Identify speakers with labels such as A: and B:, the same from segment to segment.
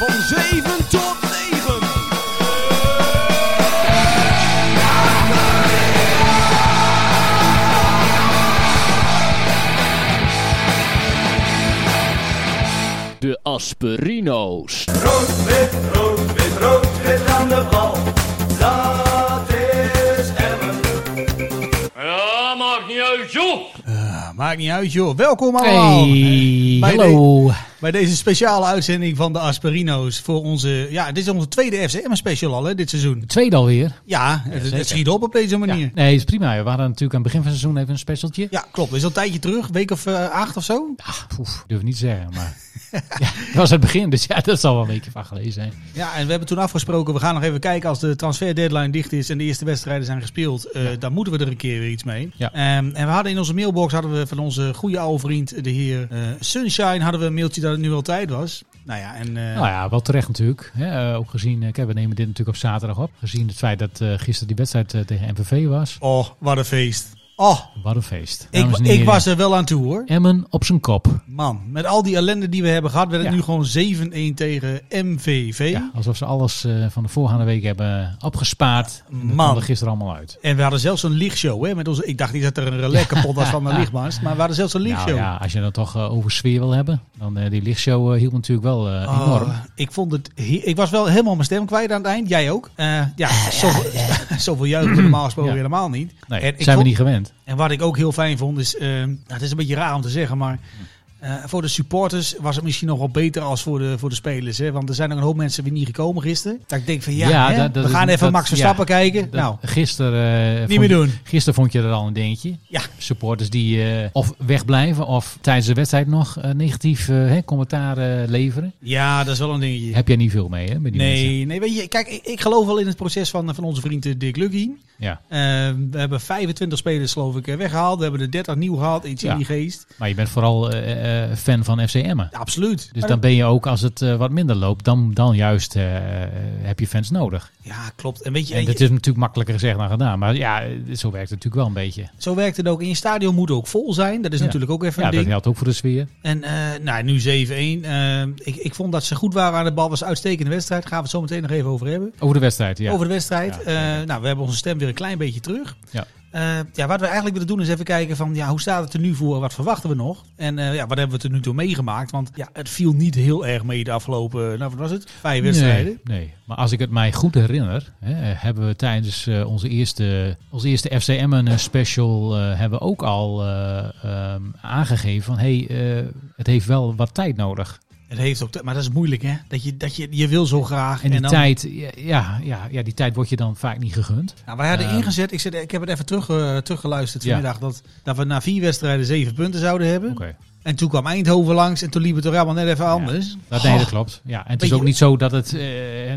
A: van 7 tot 9.
B: De Asperino's.
C: Rood, wit, rood, wit, rood, wit aan de bal. Dat is Emmen.
D: Ja, maakt niet uit, joh.
E: Maakt niet uit, joh. Welkom allemaal
F: Hey,
E: Bij
F: hallo.
E: bij deze speciale uitzending van de Asperino's. Voor onze, ja, dit is onze tweede FCM special al, hè, dit seizoen.
F: Tweede alweer.
E: Ja, het, het schiet op op deze
F: Ja.
E: manier. Ja,
F: Nee, is prima. We waren natuurlijk aan het begin van het seizoen even een specialtje.
E: klopt. Is al een tijdje terug, week of eh, acht of zo.
F: Ah, oef, durf niet te zeggen, maar ja, dat was het begin. Dus ja, dat zal wel een weekje van geleden zijn.
E: Ja, en we hebben toen afgesproken, we gaan nog even kijken als de transfer deadline dicht is en de eerste wedstrijden zijn gespeeld. eh, Dan moeten we er een keer weer iets mee.
F: Ja.
E: Ehm, en we hadden in onze mailbox hadden we van onze goede oude vriend, de heer eh, Sunshine, hadden we een mailtje dat het nu al tijd was. Nou ja, en eh,
F: Nou ja, wel terecht natuurlijk. Hè, eh, ook gezien, eh, kijk, we nemen dit natuurlijk op zaterdag op. Gezien het feit dat eh, gisteren die wedstrijd eh, tegen MVV was.
E: oh, wat een feest. Oh,
F: Wat een feest.
E: ik,
F: Dames en
E: ik
F: heren,
E: was er wel aan toe hoor.
F: Emmen op zijn kop.
E: Man, met al die ellende die we hebben gehad, werd het
F: Ja.
E: nu gewoon 7-1 tegen MVV.
F: Ja, alsof ze alles eh, van de voorgaande week hebben opgespaard. En dat
E: Man.
F: kwam er gisteren allemaal uit.
E: En we hadden zelfs een lichtshow. Hè, met onze, ik dacht niet dat er een relais kapot was van de lichtmast, maar we hadden zelfs een
F: Nou
E: lichtshow.
F: ja, als je dan toch eh, over sfeer wil hebben, dan eh, die lichtshow eh, hielp natuurlijk wel eh,
E: Oh,
F: enorm.
E: ik, vond het, he- ik was wel helemaal mijn stem kwijt aan het eind. Jij ook. Eh, ja, zoveel, zoveel juichen we normaal gesproken
F: Ja.
E: helemaal niet.
F: Nee,
E: en,
F: zijn
E: ik
F: we
E: vond-
F: niet gewend.
E: en wat ik ook heel fijn vond is... eh, nou, het is een beetje raar om te zeggen, maar... eh, voor de supporters was het misschien nog wel beter als voor de, voor de spelers. Hè? Want er zijn ook een hoop mensen weer niet gekomen gisteren. Dat ik denk van ja,
F: Ja,
E: hè,
F: dat- dat
E: we
F: is-
E: gaan even
F: dat-
E: Max Verstappen
F: ja,
E: kijken.
F: Dat-
E: nou,
F: gisteren, eh,
E: niet
F: vond-
E: meer doen.
F: gisteren vond je er al een dingetje.
E: Ja.
F: Supporters die eh, of wegblijven of tijdens de wedstrijd nog eh, negatief eh, hè, commentaar eh, leveren.
E: Ja, dat is wel een dingetje.
F: Heb jij niet veel mee, hè? Met die mensen.
E: Nee, nee, weet je, kijk, ik, ik geloof wel in het proces van, van onze vriend eh, Dick Lucky.
F: Ja.
E: Eh, we hebben 25 spelers, geloof ik, eh, weggehaald. We hebben er 30 nieuw gehaald, iets
F: Ja.
E: in die geest.
F: Maar je bent vooral eh, eh, fan van FC Emmen.
E: Ja, absoluut.
F: Dus
E: Maar
F: dan ben je ook, als het eh, wat minder loopt, dan, dan juist eh, heb je fans nodig.
E: dat- Ja, klopt. En weet je,
F: En dat is natuurlijk makkelijker gezegd dan gedaan. Maar ja, eh, zo werkt het natuurlijk wel een beetje.
E: zo werkt het ook. In je stadion moet ook vol zijn. Dat is
F: Ja.
E: natuurlijk ook even
F: Ja,
E: een
F: dat
E: ding.
F: geldt ook voor de sfeer.
E: En eh, nou, nu 7-1. Eh, ik, ik vond dat ze goed waren aan de bal. was een uitstekende wedstrijd. Gaan we het zo meteen nog even over hebben.
F: Over de wedstrijd, ja.
E: Over de wedstrijd.
F: Ja,
E: Eh, nou, we hebben onze stem weer een klein beetje terug.
F: Ja.
E: Eh, ja, wat we eigenlijk willen doen is even kijken van ja, hoe staat het er nu voor? Wat verwachten we nog? En eh, ja, wat hebben we er nu toe meegemaakt? Want ja, het viel niet heel erg mee de afgelopen, nou wat was het? Vijf wedstrijden.
F: Nee, nee, maar als ik het mij goed herinner, hè, hebben we tijdens eh, onze eerste, onze eerste FCM een special eh, hebben we ook al eh, ehm, aangegeven van hey, eh, het heeft wel wat tijd nodig.
E: Het heeft ook, te- maar dat is moeilijk hè? Dat je, dat je, je wil zo graag.
F: En die
E: dan,
F: tijd, ja, ja, ja, ja, die tijd wordt je dan vaak niet gegund.
E: Nou, wij hadden
F: Ehm.
E: ingezet, ik, zit, ik heb het even terug, eh, teruggeluisterd
F: Ja.
E: vanmiddag, dat, dat we na vier wedstrijden zeven punten zouden hebben.
F: Oké.
E: En toen kwam Eindhoven langs en toen liep het toch allemaal net even anders.
F: Dat, nee, dat klopt. Ja, en het
E: Weet
F: is
E: je-
F: ook niet zo dat het, eh,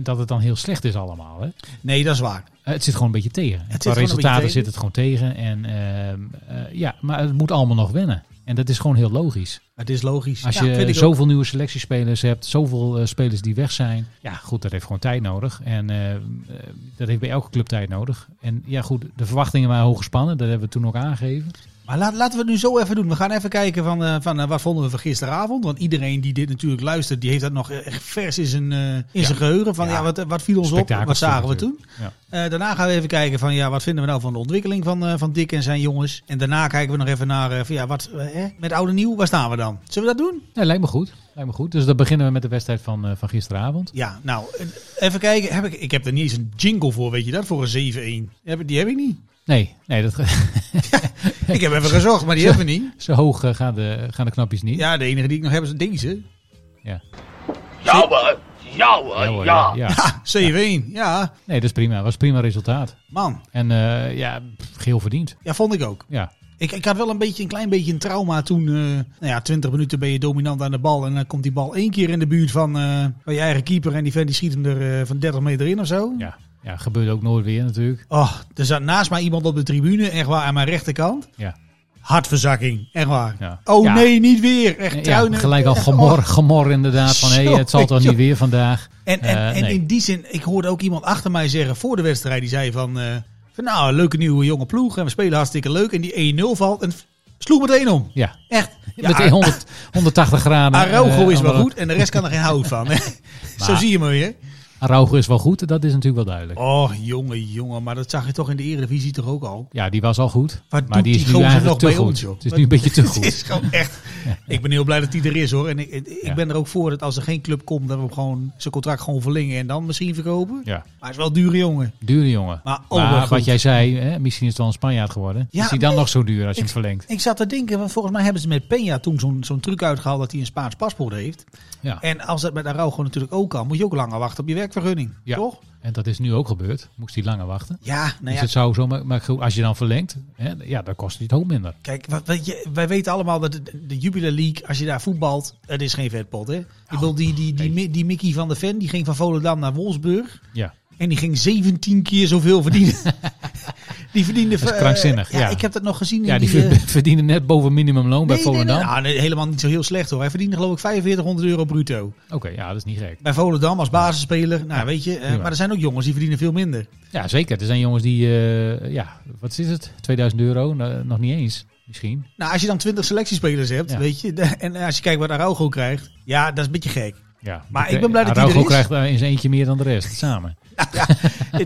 F: dat het dan heel slecht is allemaal. Hè?
E: Nee, dat is waar.
F: Eh, het zit gewoon een beetje
E: zit
F: tegen.
E: gewoon
F: Het Qua
E: een beetje
F: resultaten
E: tegen.
F: zit het gewoon tegen. En, ehm, eh, ja, maar het moet allemaal nog wennen. En dat is gewoon heel logisch.
E: Het is logisch.
F: Als
E: Ja, vind
F: je
E: ik ook.
F: zoveel nieuwe selectiespelers hebt, zoveel eh, spelers die weg zijn. Ja, goed, dat heeft gewoon tijd nodig. En eh, eh, dat heeft bij elke club tijd nodig. En ja, goed, de verwachtingen waren hoog gespannen. Dat hebben we toen ook aangegeven.
E: Maar laat, laten we het nu zo even doen. We gaan even kijken van, eh, van eh, wat vonden we van gisteravond. Want iedereen die dit natuurlijk luistert, die heeft dat nog echt vers in zijn, eh, in zijn geheugen. Van ja,
F: Ja.
E: wat, wat viel ons op?
F: Spektakel
E: Wat zagen we
F: natuurlijk.
E: toen?
F: Ja.
E: Eh, daarna gaan we even kijken van ja, wat vinden we nou van de ontwikkeling van, eh, van Dick en zijn jongens. En daarna kijken we nog even naar eh, van ja, wat eh, hè? met oude nieuw, waar staan we dan? Zullen we dat doen?
F: Ja, lijkt me goed. Lijkt me goed. Dus dan beginnen we met de wedstrijd van, eh, van gisteravond.
E: Ja, nou, eh, even kijken. Heb ik, ik heb er niet eens een jingle voor, weet je dat? Voor een 7-1. Heb ik- Die heb ik niet.
F: Nee, nee dat,
E: Ik heb even gezocht, maar die hebben we niet.
F: zo hoog eh, gaan, de, gaan de knapjes niet.
E: Ja, de enige die ik nog heb is deze.
D: Ja hoor, ja hoor,
F: hoor,
D: ja.
F: ja.
E: Ha, 7-1. Ja,
F: Nee, dat is prima. was prima resultaat.
E: man.
F: En eh, ja, pff, geheel verdiend.
E: Ja, vond ik ook.
F: Ja.
E: Ik, ik had wel een beetje een klein beetje een trauma toen. eh nou ja, 20 minuten ben je dominant aan de bal. En dan komt die bal één keer in de buurt van, eh, van je eigen keeper. En die vent die schiet hem er eh, van 30 meter in of zo.
F: Ja. ja, gebeurde ook nooit weer natuurlijk.
E: Oh, er zat naast mij iemand op de tribune. Echt waar, aan mijn rechterkant.
F: Ja.
E: Hartverzakking. Echt waar.
F: Ja.
E: Oh
F: Ja.
E: nee, niet weer. Echt
F: Ja,
E: tuinen.
F: gelijk al
E: Echt,
F: gemor,
E: oh.
F: gemor inderdaad. Van hé,
E: Zo,
F: het zal toch
E: joh.
F: niet weer vandaag.
E: En, en,
F: Eh,
E: en
F: nee.
E: in die zin, ik hoorde ook iemand achter mij zeggen voor de wedstrijd. Die zei van, eh, van nou, leuke nieuwe jonge ploeg. En we spelen hartstikke leuk. En die 1-0 E valt. En Sloeg meteen om.
F: Ja,
E: Echt. Ja, ah.
F: meteen 100, 180 graden.
E: Araujo
F: eh,
E: is wel
F: andere-
E: goed en de rest kan er geen hout van. hè. Zo
F: Maar-
E: zie je me weer.
F: Araujo is wel goed, dat is natuurlijk wel duidelijk.
E: Oh, jongen, jongen. Maar dat zag je toch in de Eredivisie toch ook al?
F: Ja, die was al goed.
E: Wat
F: maar
E: doet
F: die is
E: die
F: nu
E: gozer nog
F: eigenlijk te
E: bij
F: goed.
E: ons, joh?
F: het is nu een beetje te
E: Het is
F: goed.
E: gewoon echt... Ik ben heel blij dat hij er is, hoor. En ik, ik ben er ook voor dat als er geen club komt... dat we hem gewoon zijn contract gewoon verlengen en dan misschien verkopen. Maar
F: Ja,
E: hij is wel een dure jongen.
F: dure jongen.
E: Maar, oh,
F: Maar
E: wat
F: wat
E: goed.
F: jij zei, hè, misschien is het wel een Spanjaard geworden.
E: Ja,
F: is hij dan
E: nee.
F: nog zo duur als je
E: Ik-
F: hem verlengt?
E: Ik zat te denken, want volgens mij hebben ze met Peña toen zo'n zo'n truc uitgehaald... dat hij een Spaans paspoort heeft.
F: Ja.
E: En als dat met Araujo natuurlijk ook kan... moet je ook langer wachten op je werkvergunning,
F: Ja.
E: toch?
F: En dat is nu ook gebeurd. Moest hij langer wachten.
E: Ja, nou ja,
F: dus het zou zo, maar, maar goed, als je dan verlengt, hè, ja, dan kost het ook minder.
E: Kijk, wat, weet je, wij weten allemaal dat de, de Jubilee League, als je daar voetbalt, het is geen vetpot. Hè? Ik wil die, die,
F: Oh,
E: die, Mi- die Mickey van de Ven, die ging van Volendam naar Wolfsburg.
F: Ja.
E: En die ging 17 keer zoveel verdienen. die verdiende...
F: Dat is
E: eh,
F: krankzinnig, ja.
E: ik heb dat nog gezien. in
F: Ja, die
E: eh,
F: ver- verdienen net boven minimumloon bij
E: nee, nee, nee,
F: Volendam.
E: nou, nee, helemaal niet zo heel slecht hoor. Hij verdiende geloof ik 4500 euro bruto.
F: Oké, ja, dat is niet gek.
E: Bij Volendam als basisspeler. Nou, weet je. eh,
F: prima.
E: maar er zijn ook jongens die verdienen veel minder.
F: Ja, zeker. Er zijn jongens die, eh, ja, wat is het? 2000 euro? Nou, nog niet eens, misschien.
E: Nou, als je dan 20 selectiespelers hebt,
F: Ja.
E: weet je. En eh, als je kijkt wat Araujo krijgt. Ja, dat is een beetje gek.
F: Ja, Eh,
E: Maar ik ben blij dat hij
F: Araujo
E: er is.
F: krijgt eh, in zijn eentje meer dan de rest, samen.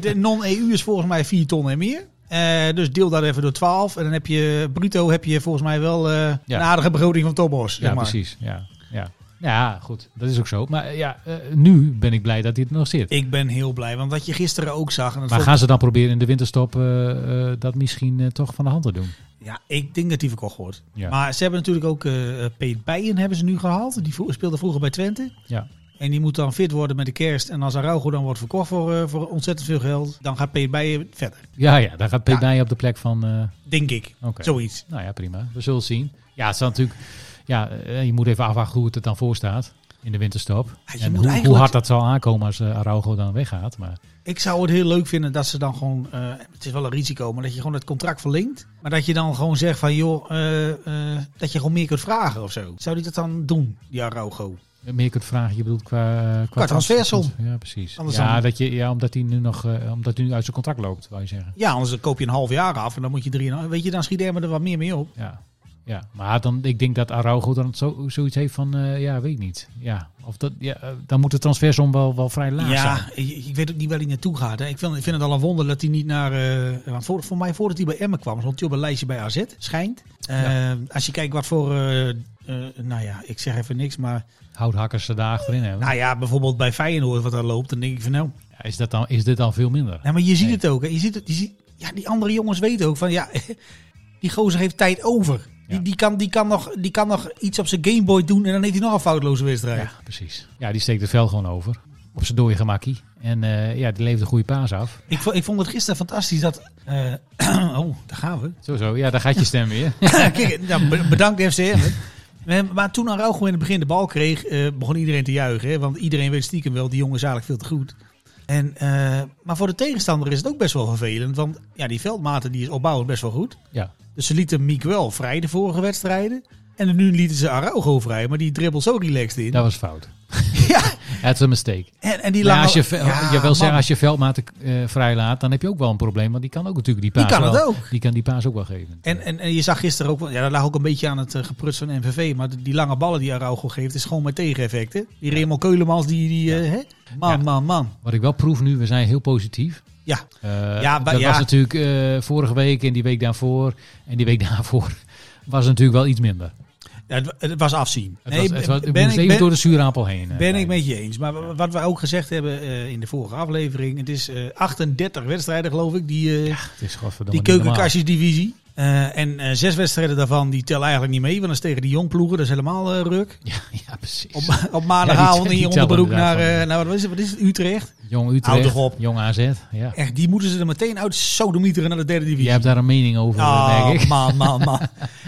E: De non-EU eh, is volgens mij 4 ton en meer. Eh, dus deel dat even door 12. En dan heb je bruto heb je volgens mij wel eh, een aardige begroting van Tobos.
F: Ja, precies. Ja, ja. ja, goed. Dat is ook zo. Maar eh, ja, eh, nu ben ik blij dat hij er nog zit.
E: Ik ben heel blij, want wat je gisteren ook zag. En dat
F: maar
E: vond-
F: gaan ze dan proberen in de winterstop eh, eh, dat misschien eh, toch van de hand te doen?
E: Ja, ik denk dat die verkocht wordt.
F: Ja.
E: Maar ze hebben natuurlijk ook eh eh, Peet Bijen hebben ze nu gehaald. Die vo- speelde vroeger bij Twente.
F: Ja.
E: En die moet dan fit worden met de kerst. En als Araujo dan wordt verkocht voor, eh, voor ontzettend veel geld, dan gaat Peet Bijen verder.
F: Ja, ja, daar gaat P. Bijen op de plek van... eh,
E: Denk ik.
F: Oké.
E: Zoiets.
F: nou ja, prima. We zullen het zien. Ja, het staat natuurlijk... Ja, eh, je moet even afwachten hoe het er dan voor staat in de winterstop.
E: Ja, je
F: en
E: moet
F: hoe, hoe
E: eigenlijk-
F: hard dat zal aankomen als eh, Araujo dan weggaat. Maar
E: Ik zou het heel leuk vinden dat ze dan gewoon, eh, het is wel een risico, maar dat je gewoon het contract verlengt. Maar dat je dan gewoon zegt van joh, eh, eh, dat je gewoon meer kunt vragen of zo. Zou die dat dan doen, die Araujo?
F: meer kunt vragen, je bedoelt qua... eh, qua,
E: transfersom.
F: Ja, precies.
E: Anders
F: Ja,
E: dan-
F: dat je, ja, omdat hij nu nog eh, omdat hij nu uit zijn contract loopt, wou je zeggen.
E: Ja, anders dan koop je een half jaar af en dan moet je drie, en- weet je, dan schiet Emmen er wat meer mee op.
F: Ja, ja. maar dan, ik denk dat Araujo dan zo, zoiets heeft van, eh, ja, weet ik niet. Ja, of dat, ja, eh, dan moet de transfersom wel, wel vrij laag zijn.
E: Ja, ik, ik weet ook niet waar hij naartoe gaat. Hè. Ik, vind, ik vind het al een wonder dat hij niet naar... eh, want voor, voor mij, voordat hij bij Emmen kwam, stond hij op een lijstje bij AZ, schijnt. Eh, Als je kijkt wat voor... eh, eh, nou ja, ik zeg even niks, maar...
F: Houthakkers er daar achterin hebben.
E: Nou ja, bijvoorbeeld bij Feyenoord wat daar loopt, dan denk ik van nou...
F: Ja, is, dat dan, is dit dan veel minder?
E: Ja, maar je ziet
F: Nee.
E: het ook. Hè. Je ziet het, je ziet, ja, die andere jongens weten ook van ja, die gozer heeft tijd over. Die,
F: Ja.
E: die, kan, die, kan nog, die kan nog iets op zijn Gameboy doen en dan heeft hij nog een foutloze wedstrijd.
F: Ja, precies. Ja, die steekt het vel gewoon over. Op zijn dode gemakkie. En eh, ja, die levert een goede paas af.
E: Ik, vo- ik vond het gisteren fantastisch dat. eh, oh, daar gaan we.
F: Zo, zo. Ja, daar gaat je stem weer.
E: Kijk, nou, be- bedankt FCM. hè. Eh, Maar toen Araujo in het begin de bal kreeg, eh, begon iedereen te juichen. Hè? Want iedereen weet stiekem wel, die jongen is eigenlijk veel te goed. En, eh, maar voor de tegenstander is het ook best wel vervelend. Want ja, die veldmaten die is opbouwend best wel goed.
F: ja.
E: Dus ze lieten Miguel vrij de vorige wedstrijden. En nu lieten ze Araujo vrij, maar die dribbelt zo relaxed in.
F: Dat was fout.
E: Ja,
F: Het is een mistake.
E: en, en die
F: Maar
E: lange...
F: nou, als je, ve-
E: Ja,
F: je wil zeggen,
E: man.
F: als je veldmaten eh, vrijlaat, dan heb je ook wel een probleem. Want die kan ook natuurlijk die
E: Die
F: paas
E: kan het
F: wel-
E: ook.
F: Die kan die paas ook wel geven.
E: En, en, en je zag gisteren ook, wel- ja, dat lag ook een beetje aan het eh, gepruts van NVV. Maar die lange ballen die Araujo geeft, is gewoon met tegeneffecten. Die Raymond Keulemans, die... die eh, hè? Man,
F: Ja.
E: man, man.
F: Wat ik wel proef nu, we zijn heel positief.
E: Ja,
F: Eh,
E: Ja, maar
F: dat
E: ja.
F: was natuurlijk eh, vorige week en die week daarvoor. En die week daarvoor was het natuurlijk wel iets minder.
E: ja, het, wa- het was afzien.
F: Het was, het was, we
E: ben,
F: moesten
E: ik,
F: even door
E: ben,
F: de zuurappel heen. eh,
E: ben ik
F: lijken.
E: met je eens. Maar wa- wat we ook gezegd hebben eh, in de vorige aflevering. Het is eh, 38 wedstrijden, geloof ik, die... eh,
F: Het is godverdomme
E: Die
F: niet normaal.
E: keukenkastjesdivisie. Eh, en eh, zes wedstrijden daarvan die tellen eigenlijk niet mee. Want dat is tegen die jongploegen. Dat is helemaal eh, ruk.
F: Ja, ja, precies.
E: Op, op maandagavond
F: Ja,
E: in
F: die-
E: je
F: die tellen
E: onderbroek
F: inderdaad
E: naar,
F: wel
E: eh,
F: niet.
E: naar wat is, het, wat is het, Utrecht.
F: Jong
E: Houd
F: Utrecht,
E: toch op.
F: Jong AZ. Ja.
E: Echt, die moeten ze er meteen uit sodemieteren naar de derde divisie.
F: Jij hebt daar een mening over, eh,
E: Oh,
F: denk ik.
E: man, man, man.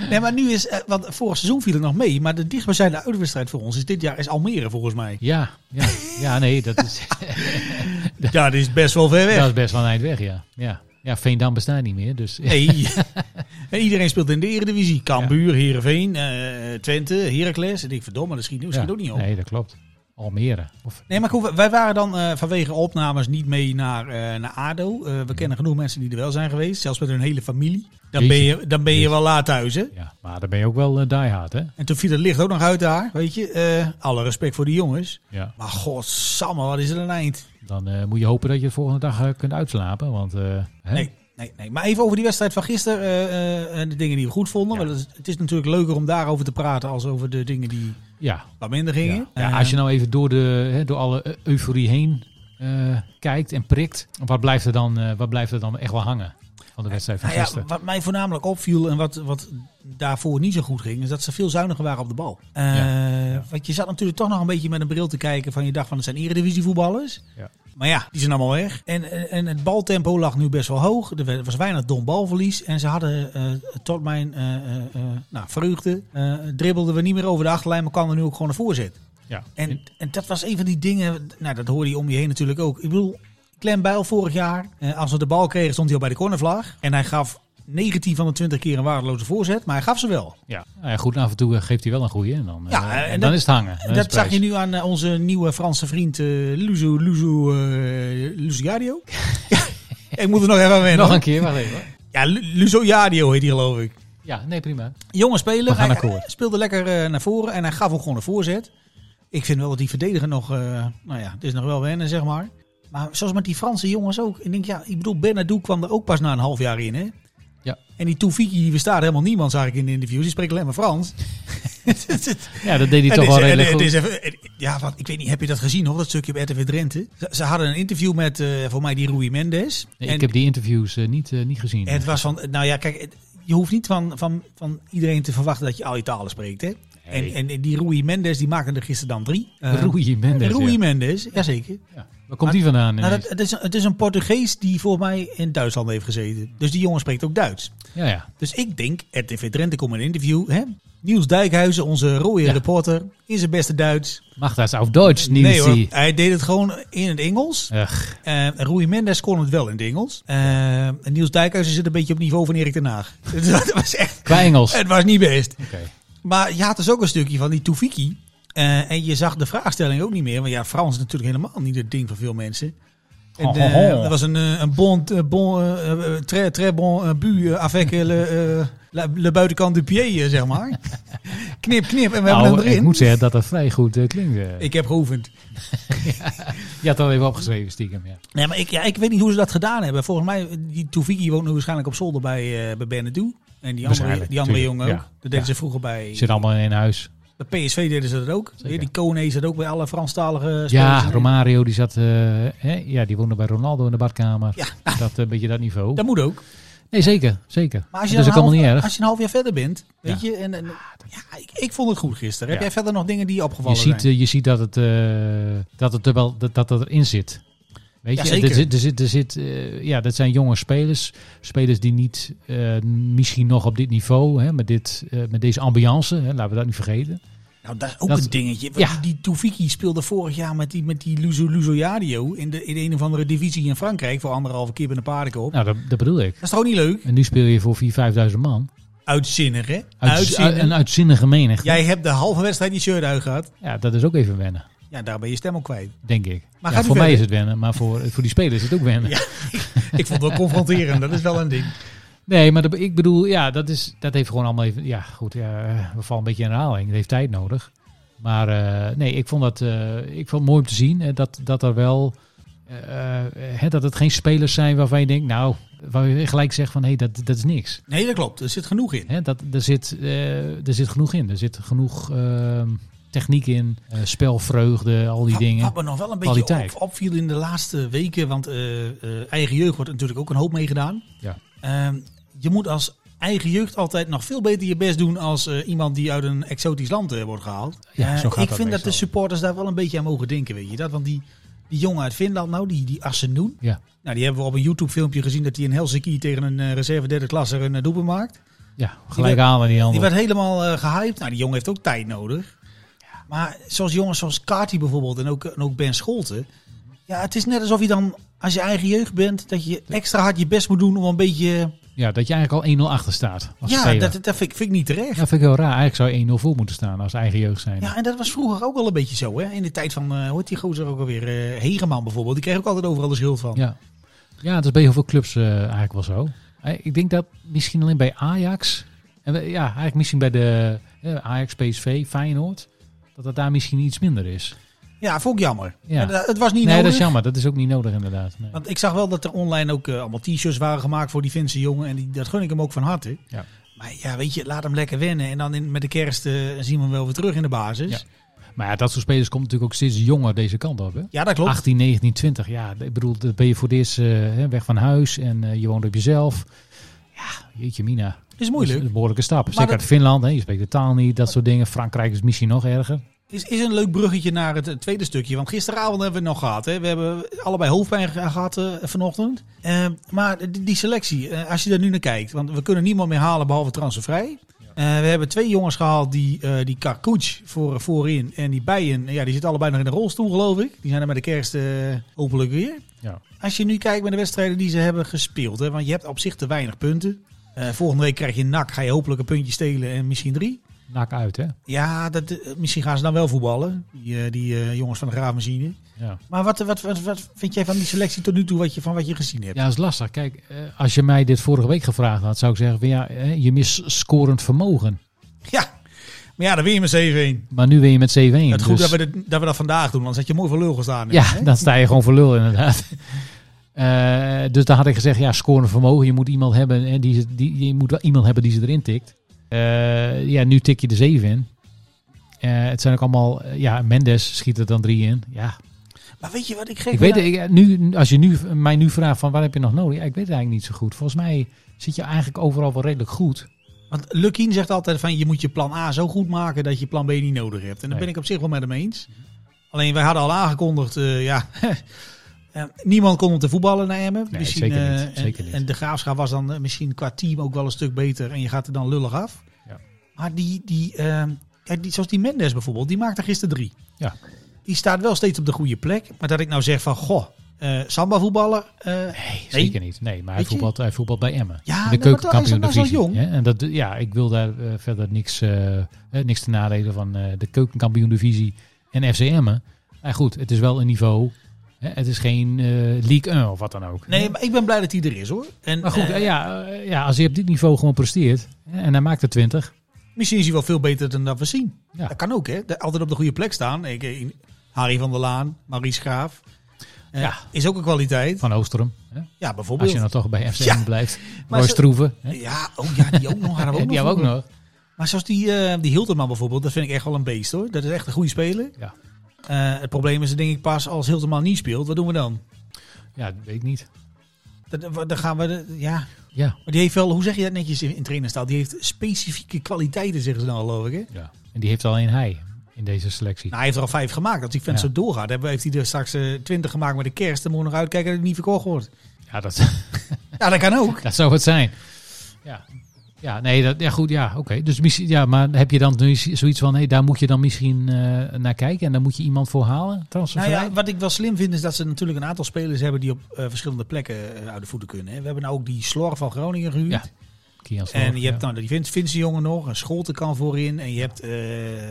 E: Nee, maar nu is... eh, want vorig seizoen viel het nog mee. Maar de dichtstbijzijnde uitwedstrijd voor ons is dit jaar is Almere volgens mij.
F: Ja, ja, ja, nee, dat is,
E: Ja, dat is best wel ver weg.
F: dat is best wel een eind weg, ja. ja. Ja, Veendam bestaat niet meer, dus...
E: Nee. En iedereen speelt in de eredivisie. Cambuur, Heerenveen, eh, Twente, Heracles. En ik denk, verdomme, dat schiet, dat schiet
F: Ja.
E: ook niet op.
F: Nee, dat klopt. Almere. Of,
E: Nee, maar goed, wij waren dan eh, vanwege opnames niet mee naar, eh, naar ADO. Eh, we kennen genoeg mensen die er wel zijn geweest, zelfs met hun hele familie. Dan ben je, dan ben je wel laat thuis, hè?
F: ja, maar dan ben je ook wel eh, diehard, hè?
E: En toen viel het licht ook nog uit daar, weet je. Eh, alle respect voor die jongens.
F: Ja.
E: Maar godsamme, wat is er een eind?
F: Dan eh, moet je hopen dat je de volgende dag eh, kunt uitslapen. Want, eh, hè?
E: Nee, nee, nee. Maar even over die wedstrijd van gisteren eh, eh, en de dingen die we goed vonden. Want het is- het is natuurlijk leuker om daarover te praten als over de dingen die
F: Ja,
E: wat minder
F: ja.
E: gingen.
F: Ja,
E: Eh,
F: als je nou even door, de, hè, door alle eu- euforie heen eh, kijkt en prikt. Wat blijft, er dan, eh, wat blijft er dan echt wel hangen van de wedstrijd van
E: Nou ja,
F: gisteren?
E: wat mij voornamelijk opviel en wat, wat daarvoor niet zo goed ging, is dat ze veel zuiniger waren op de bal. Eh, Want je zat natuurlijk toch nog een beetje met een bril te kijken van je dacht van het zijn eredivisievoetballers.
F: Ja.
E: Maar ja, die zijn allemaal weg. En, en- en het baltempo lag nu best wel hoog. Er werd- was weinig dom balverlies. En ze hadden eh, tot mijn eh, eh, eh, nou, vreugde, eh, dribbelden we niet meer over de achterlijn, maar kwam er nu ook gewoon naar voren zitten.
F: Ja.
E: En, en dat was een van die dingen, nou, dat hoorde je om je heen natuurlijk ook. Ik bedoel, Clem Bijl vorig jaar, eh, als we de bal kregen, stond hij al bij de cornervlag. En hij gaf 19 van de 20 keer een waardeloze voorzet, maar hij gaf ze wel.
F: Ja. Nou ja, goed, af en toe eh, geeft hij wel een goeie. En dan, eh,
E: Ja, en
F: en
E: dat-
F: dan is het hangen. Dan
E: dat
F: is het
E: zag je
F: prijs.
E: nu aan eh, onze nieuwe Franse vriend eh Luzu, Luzu, eh, Luzuadio. Ja, ik moet er nog even aan wennen.
F: Nog
E: hoor.
F: een keer, wacht even. hoor.
E: Ja, Lu- Luzuadio heet hij geloof ik.
F: Ja, nee, prima.
E: Jonge speler,
F: We gaan
E: hij
F: akkoord.
E: speelde lekker eh, naar voren en hij gaf ook gewoon een voorzet. Ik vind wel dat die verdediger nog, eh, nou ja, het is nog wel wennen, zeg maar. Maar zoals met die Franse jongens ook. Ik denk, ja, ik bedoel, Bernadou kwam er ook pas na een half jaar in, hè?
F: Ja.
E: En die Toefiki, die bestaat helemaal niemand, zag ik in de interviews. Die spreekt alleen maar Frans. Het is- het
F: Ja, dat deed hij toch
E: is-
F: wel redelijk
E: het
F: goed.
E: is even- het- ja, wat, ik weet niet, heb je dat gezien, hoor? Dat stukje op RTV Drenthe. Ze, ze hadden een interview met, eh, voor mij, die Rui Mendes.
F: Nee,
E: En-
F: ik heb die interviews eh, niet, eh, niet gezien.
E: het was van, nou ja, kijk, het- je hoeft niet van, van, van iedereen te verwachten dat je al je talen spreekt. Hè?
F: Nee.
E: En, en die Rui Mendes, die maakte er gisteren dan drie. Eh,
F: Rui Mendes.
E: Rui
F: ja.
E: Mendes, jazeker.
F: Ja. Waar komt die vandaan?
E: Nou,
F: ineens?
E: dat, het, is, het is een Portugees die volgens mij in Duitsland heeft gezeten. Dus die jongen spreekt ook Duits.
F: Ja, ja.
E: Dus ik denk, RTV Drenthe komt in een interview. Hè? Niels Dijkhuizen, onze rode
F: Ja.
E: reporter, in zijn beste Duits.
F: Mag dat auf Deutsch niet
E: nee hoor,
F: zien.
E: hij deed het gewoon in het Engels.
F: Ugh,
E: Eh, Rui Mendes kon het wel in het Engels. Eh, en Niels Dijkhuizen zit een beetje op niveau van Erik ten Haag. dat was echt...
F: qua Engels.
E: Het was niet best.
F: Oké.
E: Maar je had dus ook een stukje van die Toefiki. Eh, en je zag de vraagstelling ook niet meer. Want ja, Frans is natuurlijk helemaal niet het ding van veel mensen. En,
F: Ho,
E: eh,
F: ho, ho.
E: dat was een, eh, een bon, eh, bon eh, eh, très, très bon eh, bu eh, avec eh, le, eh, la- le buitenkant du pied, eh, zeg maar. knip, knip, en we hebben
F: Nou,
E: hem erin.
F: ik moet zeggen dat dat vrij goed eh, klinkt. eh.
E: Ik heb geoefend.
F: Je had het al even opgeschreven, stiekem. Ja.
E: Nee, maar ik, ja, ik weet niet hoe ze dat gedaan hebben. Volgens mij, die Toefiki woont nu waarschijnlijk op zolder bij, eh bij Benedou. En die andere,
F: Waarschijnlijk,
E: die andere
F: tuurlijk,
E: jongen ook.
F: ja.
E: Dat deden
F: Ja.
E: ze vroeer bij...
F: Zit allemaal in één huis.
E: Bij PSV deden ze dat ook.
F: Zeker.
E: Die Kone zat ook bij alle Franstalige spelers.
F: Ja, Romario die zat, eh, hè, ja, die woonde bij Ronaldo in de badkamer.
E: Ja.
F: Dat eh, een beetje dat niveau.
E: Dat moet ook.
F: Nee, zeker, zeker.
E: Maar als je,
F: dat
E: dan
F: is
E: een
F: ook
E: half,
F: allemaal niet erg. Ah,
E: als je een half jaar verder bent, weet je. En, en- ja, ik, ik vond het goed gisteren. Heb
F: Ja.
E: jij verder nog dingen die je
F: Je
E: opgevallen
F: ziet,
E: zijn?
F: eh, je ziet dat het, eh, dat het er wel dat, dat het erin zit. Weet
E: Ja,
F: je,
E: zeker.
F: er zit, er zit, er zit eh, ja, dat zijn jonge spelers. Spelers die niet eh, misschien nog op dit niveau, hè, met, dit, eh, met deze ambiance, hè, laten we dat niet vergeten.
E: nou, dat is ook
F: eh, dat-
E: een dingetje.
F: Ja.
E: Want Die Toefiki speelde vorig jaar met die, met die Luzo Luzo Yadio in, de, in een of andere divisie in Frankrijk voor anderhalve keer bij een paardenkop.
F: Nou, dat, dat bedoel ik.
E: Dat is toch ook niet leuk?
F: En nu speel je voor 4.000, 5.000 man.
E: Uitzinnig, hè?
F: Uit-
E: Uitzinnig.
F: Een uitzinnige menigte.
E: Jij hebt de halve wedstrijd die shirt uitgehad.
F: Ja, dat is ook even wennen,
E: Ja, daar ben je stem al kwijt.
F: denk ik.
E: Maar
F: ja,
E: gaat u
F: voor mij
E: verder.
F: is het wennen, maar voor, voor die spelers is het ook wennen.
E: Ja. Ik vond het wel confronterend. Dat is wel een ding.
F: Nee, maar dat- ik bedoel, ja, dat, is, dat heeft gewoon allemaal even... Ja, goed, ja, eh, we vallen een beetje in herhaling. Het heeft tijd nodig. Maar eh, nee, ik vond, dat, eh, ik vond het mooi om te zien eh, dat, dat er wel... eh, eh, hè, dat het geen spelers zijn waarvan je denkt, nou, waar je gelijk zegt van hé, dat, dat is niks.
E: Nee, dat klopt. Er zit genoeg in.
F: Hè, dat, er, zit, eh, er zit genoeg in. Er zit genoeg ehm, techniek in, eh, spelvreugde, al die
E: Wat-
F: dingen.
E: Wat me nog wel een beetje
F: Kwaliteit.
E: op, opviel in de laatste weken, want eh, eh, eigen jeugd wordt natuurlijk ook een hoop meegedaan.
F: Ja.
E: Ehm, je moet als eigen jeugd altijd nog veel beter je best doen als eh, iemand die uit een exotisch land eh, wordt gehaald.
F: Ja,
E: Eh,
F: zo gaat
E: ik vind
F: dat
E: dat de
F: meestal.
E: supporters daar wel een beetje aan mogen denken, weet je dat? Want die, die jongen uit Finland, nou, die, die Assenoen,
F: Ja.
E: nou, die hebben we op een YouTube-filmpje gezien dat hij in Helsinki tegen een eh, reserve derde klasser een eh, doelpunt maakt.
F: Ja, gelijk aan aan die
E: Die
F: handel.
E: werd helemaal eh, gehyped. Nou, die jongen heeft ook tijd nodig. Maar zoals jongens zoals Carty bijvoorbeeld en ook, en ook Ben Scholten. Ja, het is net alsof je dan, als je eigen jeugd bent, dat je extra hard je best moet doen om een beetje
F: Ja, dat je eigenlijk al 1-0 achter staat. Als
E: Ja,
F: speler.
E: dat, dat vind, ik, vind ik niet terecht.
F: Ja, vind ik heel raar. Eigenlijk zou je 1-0 voor moeten staan als eigen jeugd zijn.
E: Ja, en dat was vroeger ook wel een beetje zo. Hè? In de tijd van, eh hoe heet die gozer ook alweer? eh Hegeman bijvoorbeeld. Die kreeg ook altijd overal de schuld van.
F: Ja. ja, dat is bij heel veel clubs eh, eigenlijk wel zo. Eh, Ik denk dat misschien alleen bij Ajax. En we- ja, eigenlijk misschien bij de eh, Ajax, PSV, Feyenoord. Dat dat daar misschien iets minder is.
E: Ja, vond ik jammer.
F: Ja.
E: Maar dat- het was niet
F: nee,
E: nodig.
F: dat is jammer. Dat is ook niet nodig inderdaad. Nee.
E: Want ik zag wel dat er online ook eh, allemaal t-shirts waren gemaakt voor die Finse jongen. En die, dat gun ik hem ook van harte.
F: Ja.
E: Maar ja, weet je, laat hem lekker wennen. En dan in, met de kerst eh, zien we hem wel weer terug in de basis.
F: Ja.
E: Ja,
F: Maar ja, dat soort spelers komt natuurlijk ook steeds jonger deze kant op. Hè?
E: dat klopt.
F: 18, 19, 20. Ja, ik bedoel, dan ben je voor het eerst eh, hè, weg van huis en eh, je woont op jezelf. Ja, jeetje mina.
E: is
F: Dat is
E: moeilijk.
F: een behoorlijke stap. Zeker
E: dat-
F: uit Finland, hè, je spreekt de taal niet, dat soort dingen. Frankrijk is misschien nog erger.
E: Is, is een leuk bruggetje naar het eh, tweede stukje. Want gisteravond hebben we het nog gehad. Hè. We hebben allebei hoofdpijn ge- gehad eh, vanochtend. Eh, maar die, die selectie, eh, als je daar nu naar kijkt. Want we kunnen niemand meer halen behalve transfervrij. Eh, we hebben twee jongens gehaald, die, eh die Karkuch voor, voorin en die Bijen. Ja, die zitten allebei nog in de rolstoel, geloof ik. Die zijn er met de kerst eh, hopelijk weer.
F: Ja.
E: Als je nu kijkt naar de wedstrijden die ze hebben gespeeld. Hè, want je hebt op zich te weinig punten. Eh, volgende week krijg je NAC. Ga je hopelijk een puntje stelen en misschien drie.
F: Nak uit, hè?
E: Ja, dat, eh, misschien gaan ze dan wel voetballen. Die, eh, die eh, jongens van de graafmachine.
F: Ja.
E: Maar wat, wat, wat, wat vind jij van die selectie tot nu toe wat je, van wat je gezien hebt?
F: Ja, dat is lastig. Kijk, eh, als je mij dit vorige week gevraagd had, zou ik zeggen: van, ja, eh, je mist scorend vermogen.
E: Ja. Maar ja, dan win je met 7-1.
F: Maar nu win je met 7-1.
E: Het is goed dat,
F: dus-
E: we dit- dat we dat vandaag doen, anders had je mooi voor lul gestaan.
F: Ja, dan sta je gewoon voor lul inderdaad. Eh, dus daar had ik gezegd, ja, scorend vermogen. Je moet iemand hebben, hè, die, ze- die, je moet wel iemand hebben die ze erin tikt. Eh, ja, nu tik je de 7 in. Eh, het zijn ook allemaal, eh, ja, Mendes schiet er dan drie in. Ja,
E: Maar weet je wat ik gek
F: ik weet, ik, eh, nu, als je nu, mij nu vraagt van waar heb je nog nodig? Ja, ik weet het eigenlijk niet zo goed. Volgens mij zit je eigenlijk overal wel redelijk goed.
E: Want Lukien zegt altijd van je moet je plan A zo goed maken dat je plan B niet nodig hebt. En daar
F: Nee.
E: ben ik op zich wel met hem eens. Alleen wij hadden al aangekondigd, eh, ja, eh, niemand kon om te voetballen naar Emmen.
F: Nee,
E: Misschien,
F: zeker
E: eh,
F: niet,
E: en-
F: zeker niet.
E: En de Graafschap was dan eh, misschien qua team ook wel een stuk beter en je gaat er dan lullig af.
F: Ja.
E: Maar die, die, eh, ja, die, zoals die Mendes bijvoorbeeld, die maakte gisteren drie.
F: Ja.
E: Die staat wel steeds op de goede plek. Maar dat ik nou zeg van, goh, eh, samba voetballer, eh,
F: Nee, zeker niet. Nee, maar hij
E: Weet je?
F: voetbalt, hij voetbalt bij Emmen.
E: Ja,
F: In
E: nee,
F: de
E: maar toch, hij is
F: keukenkampioen
E: nog zo
F: divisie.
E: jong.
F: Ja, en dat, ja, ik wil daar eh, verder niks, eh, eh, niks te nadelen van eh, de keukenkampioen divisie en FC Emmen. Maar goed, het is wel een niveau. Hè, het is geen eh, League 1 of wat dan ook.
E: nee, maar ik ben blij dat hij er is hoor. En,
F: Maar goed,
E: eh,
F: eh, ja, eh, ja, als hij op dit niveau gewoon presteert hè, en hij maakt er 20.
E: Misschien is hij wel veel beter dan dat we zien.
F: Ja.
E: Dat kan ook, hè? De- Altijd op de goede plek staan. Ik, eh, Harry van der Laan, Maurice Graaf. Eh,
F: Ja.
E: Is ook een kwaliteit.
F: Van Oosterum. Hè?
E: Ja,
F: Als
E: bijvoorbeeld.
F: je nou toch bij FC
E: Ja,
F: Emmen blijft.
E: maar
F: Roy
E: ze-
F: Stroeven. hè?
E: Ja, oh, ja, die ook nog. Hadden we
F: Ja,
E: ook
F: die
E: nog
F: hebben we ook nog.
E: Maar zoals die, eh die Hilterman bijvoorbeeld, dat vind ik echt wel een beest hoor. Dat is echt een goede speler.
F: Ja.
E: Eh, het probleem is denk ik pas als Hilterman niet speelt, wat doen we dan?
F: Ja, dat weet ik niet.
E: Dat- wa- Dan gaan we, de- ja.
F: Ja.
E: Maar die heeft wel, hoe zeg je dat netjes in, in trainerstaal? Die heeft specifieke kwaliteiten, zeggen ze dan geloof ik hè?
F: ja. En die heeft alleen hij in deze selectie.
E: Nou, hij heeft er al vijf gemaakt. Als die vent
F: Ja.
E: zo doorgaat, hebben- heeft hij er straks eh, twintig gemaakt met de kerst. Dan moet je nog uitkijken dat het niet verkocht wordt.
F: Ja, dat...
E: Ja, dat kan ook.
F: Dat zou het zijn. Ja, ja nee, dat, ja, goed, ja, oké. Dus misschien, ja, maar heb je dan nu zoiets van, hey, daar moet je dan misschien eh, naar kijken en daar moet je iemand voor halen?
E: Nou
F: Transfervrij?
E: ja, wat ik wel slim vind is dat ze natuurlijk een aantal spelers hebben die op eh, verschillende plekken eh, uit de voeten kunnen. Hè. We hebben nou ook die Slor van Groningen gehuurd.
F: Ja, Kian Slob,
E: En je hebt
F: ja.
E: dan die Vin- Finse jongen nog, een Scholte kan voorin. En je hebt, eh,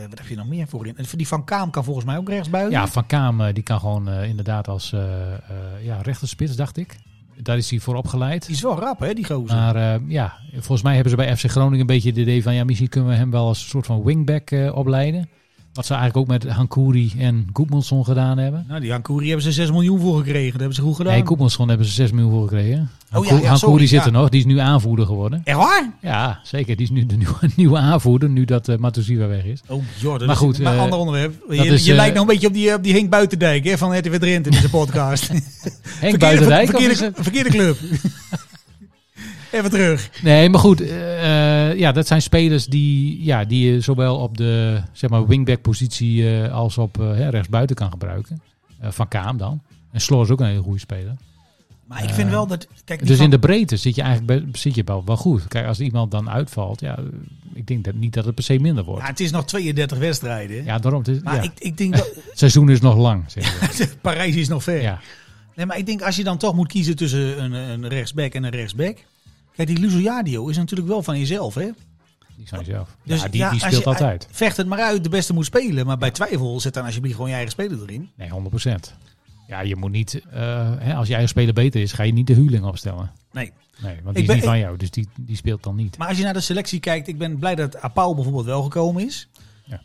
E: wat heb je nog meer voorin? En die Van Kaam kan volgens mij ook rechtsbuiten.
F: Ja, Van Kaam, eh, die kan gewoon eh, inderdaad als eh, eh, ja, rechterspits, dacht ik. Daar is hij voor opgeleid.
E: Die is wel rap hè, die gozer.
F: Maar eh, ja, volgens mij hebben ze bij FC Groningen een beetje het idee van, ja, misschien kunnen we hem wel als een soort van wingback eh, opleiden. Wat ze eigenlijk ook met Hankouri en Goedmanson gedaan hebben.
E: nou, die Hankouri hebben ze 6 miljoen voor gekregen. Dat hebben ze goed gedaan.
F: Nee, Koepelschon hebben ze 6 miljoen voor gekregen.
E: Oh ja, ja,
F: Hankouri
E: sorry,
F: zit
E: ja.
F: er nog. Die is nu aanvoerder geworden.
E: Echt waar?
F: Ja, zeker. Die is nu de nieuwe, nieuwe aanvoerder, nu dat eh Matusiwa weg is.
E: Oh, joh, dat
F: Maar
E: is
F: goed,
E: een
F: eh,
E: ander onderwerp. Je,
F: is,
E: je
F: eh,
E: lijkt nou een beetje op die, op die Henk Buitendijk hè, van RTV Drenthe in zijn podcast.
F: Henk Buitendijk? of is
E: verkeerde,
F: het-
E: verkeerde club. Even terug.
F: Nee, maar goed. eh, eh, ja, dat zijn spelers die, ja, die je zowel op de zeg maar, wingback-positie eh, als op eh, hè, rechtsbuiten kan gebruiken. Eh, van Kaam dan. En Sloor is ook een hele goede speler.
E: Maar ik vind wel dat... Kijk, die
F: Dus
E: van-
F: in de breedte zit je eigenlijk best- zit je wel, wel goed. Kijk, als iemand dan uitvalt, ja, ik denk dat niet dat het per se minder
E: Ja,
F: wordt.
E: het is nog 32 wedstrijden.
F: Ja, daarom. Het, is-
E: Maar
F: ja.
E: ik, ik denk dat...
F: Het seizoen is nog lang, zeg maar.
E: Parijs is nog ver.
F: Ja.
E: Nee, maar ik denk als je dan toch moet kiezen tussen een, een rechtsback en een rechtsback... Kijk, die Lusoyadio is natuurlijk wel van jezelf, hè?
F: Die zijn zelf.
E: Dus
F: ja, die,
E: ja,
F: die
E: als
F: speelt
E: je-
F: altijd.
E: Vecht het maar uit, de beste moet spelen. Maar bij twijfel zet dan alsjeblieft gewoon je eigen speler erin.
F: Nee, 100%. Ja, je moet niet, eh, hè, als je eigen speler beter is, ga je niet de huurling opstellen.
E: Nee.
F: Nee, want
E: ben-
F: die is niet
E: ik-
F: van jou, dus die, die speelt dan niet.
E: Maar als je naar de selectie kijkt, ik ben blij dat Apau bijvoorbeeld wel gekomen is.
F: Ja.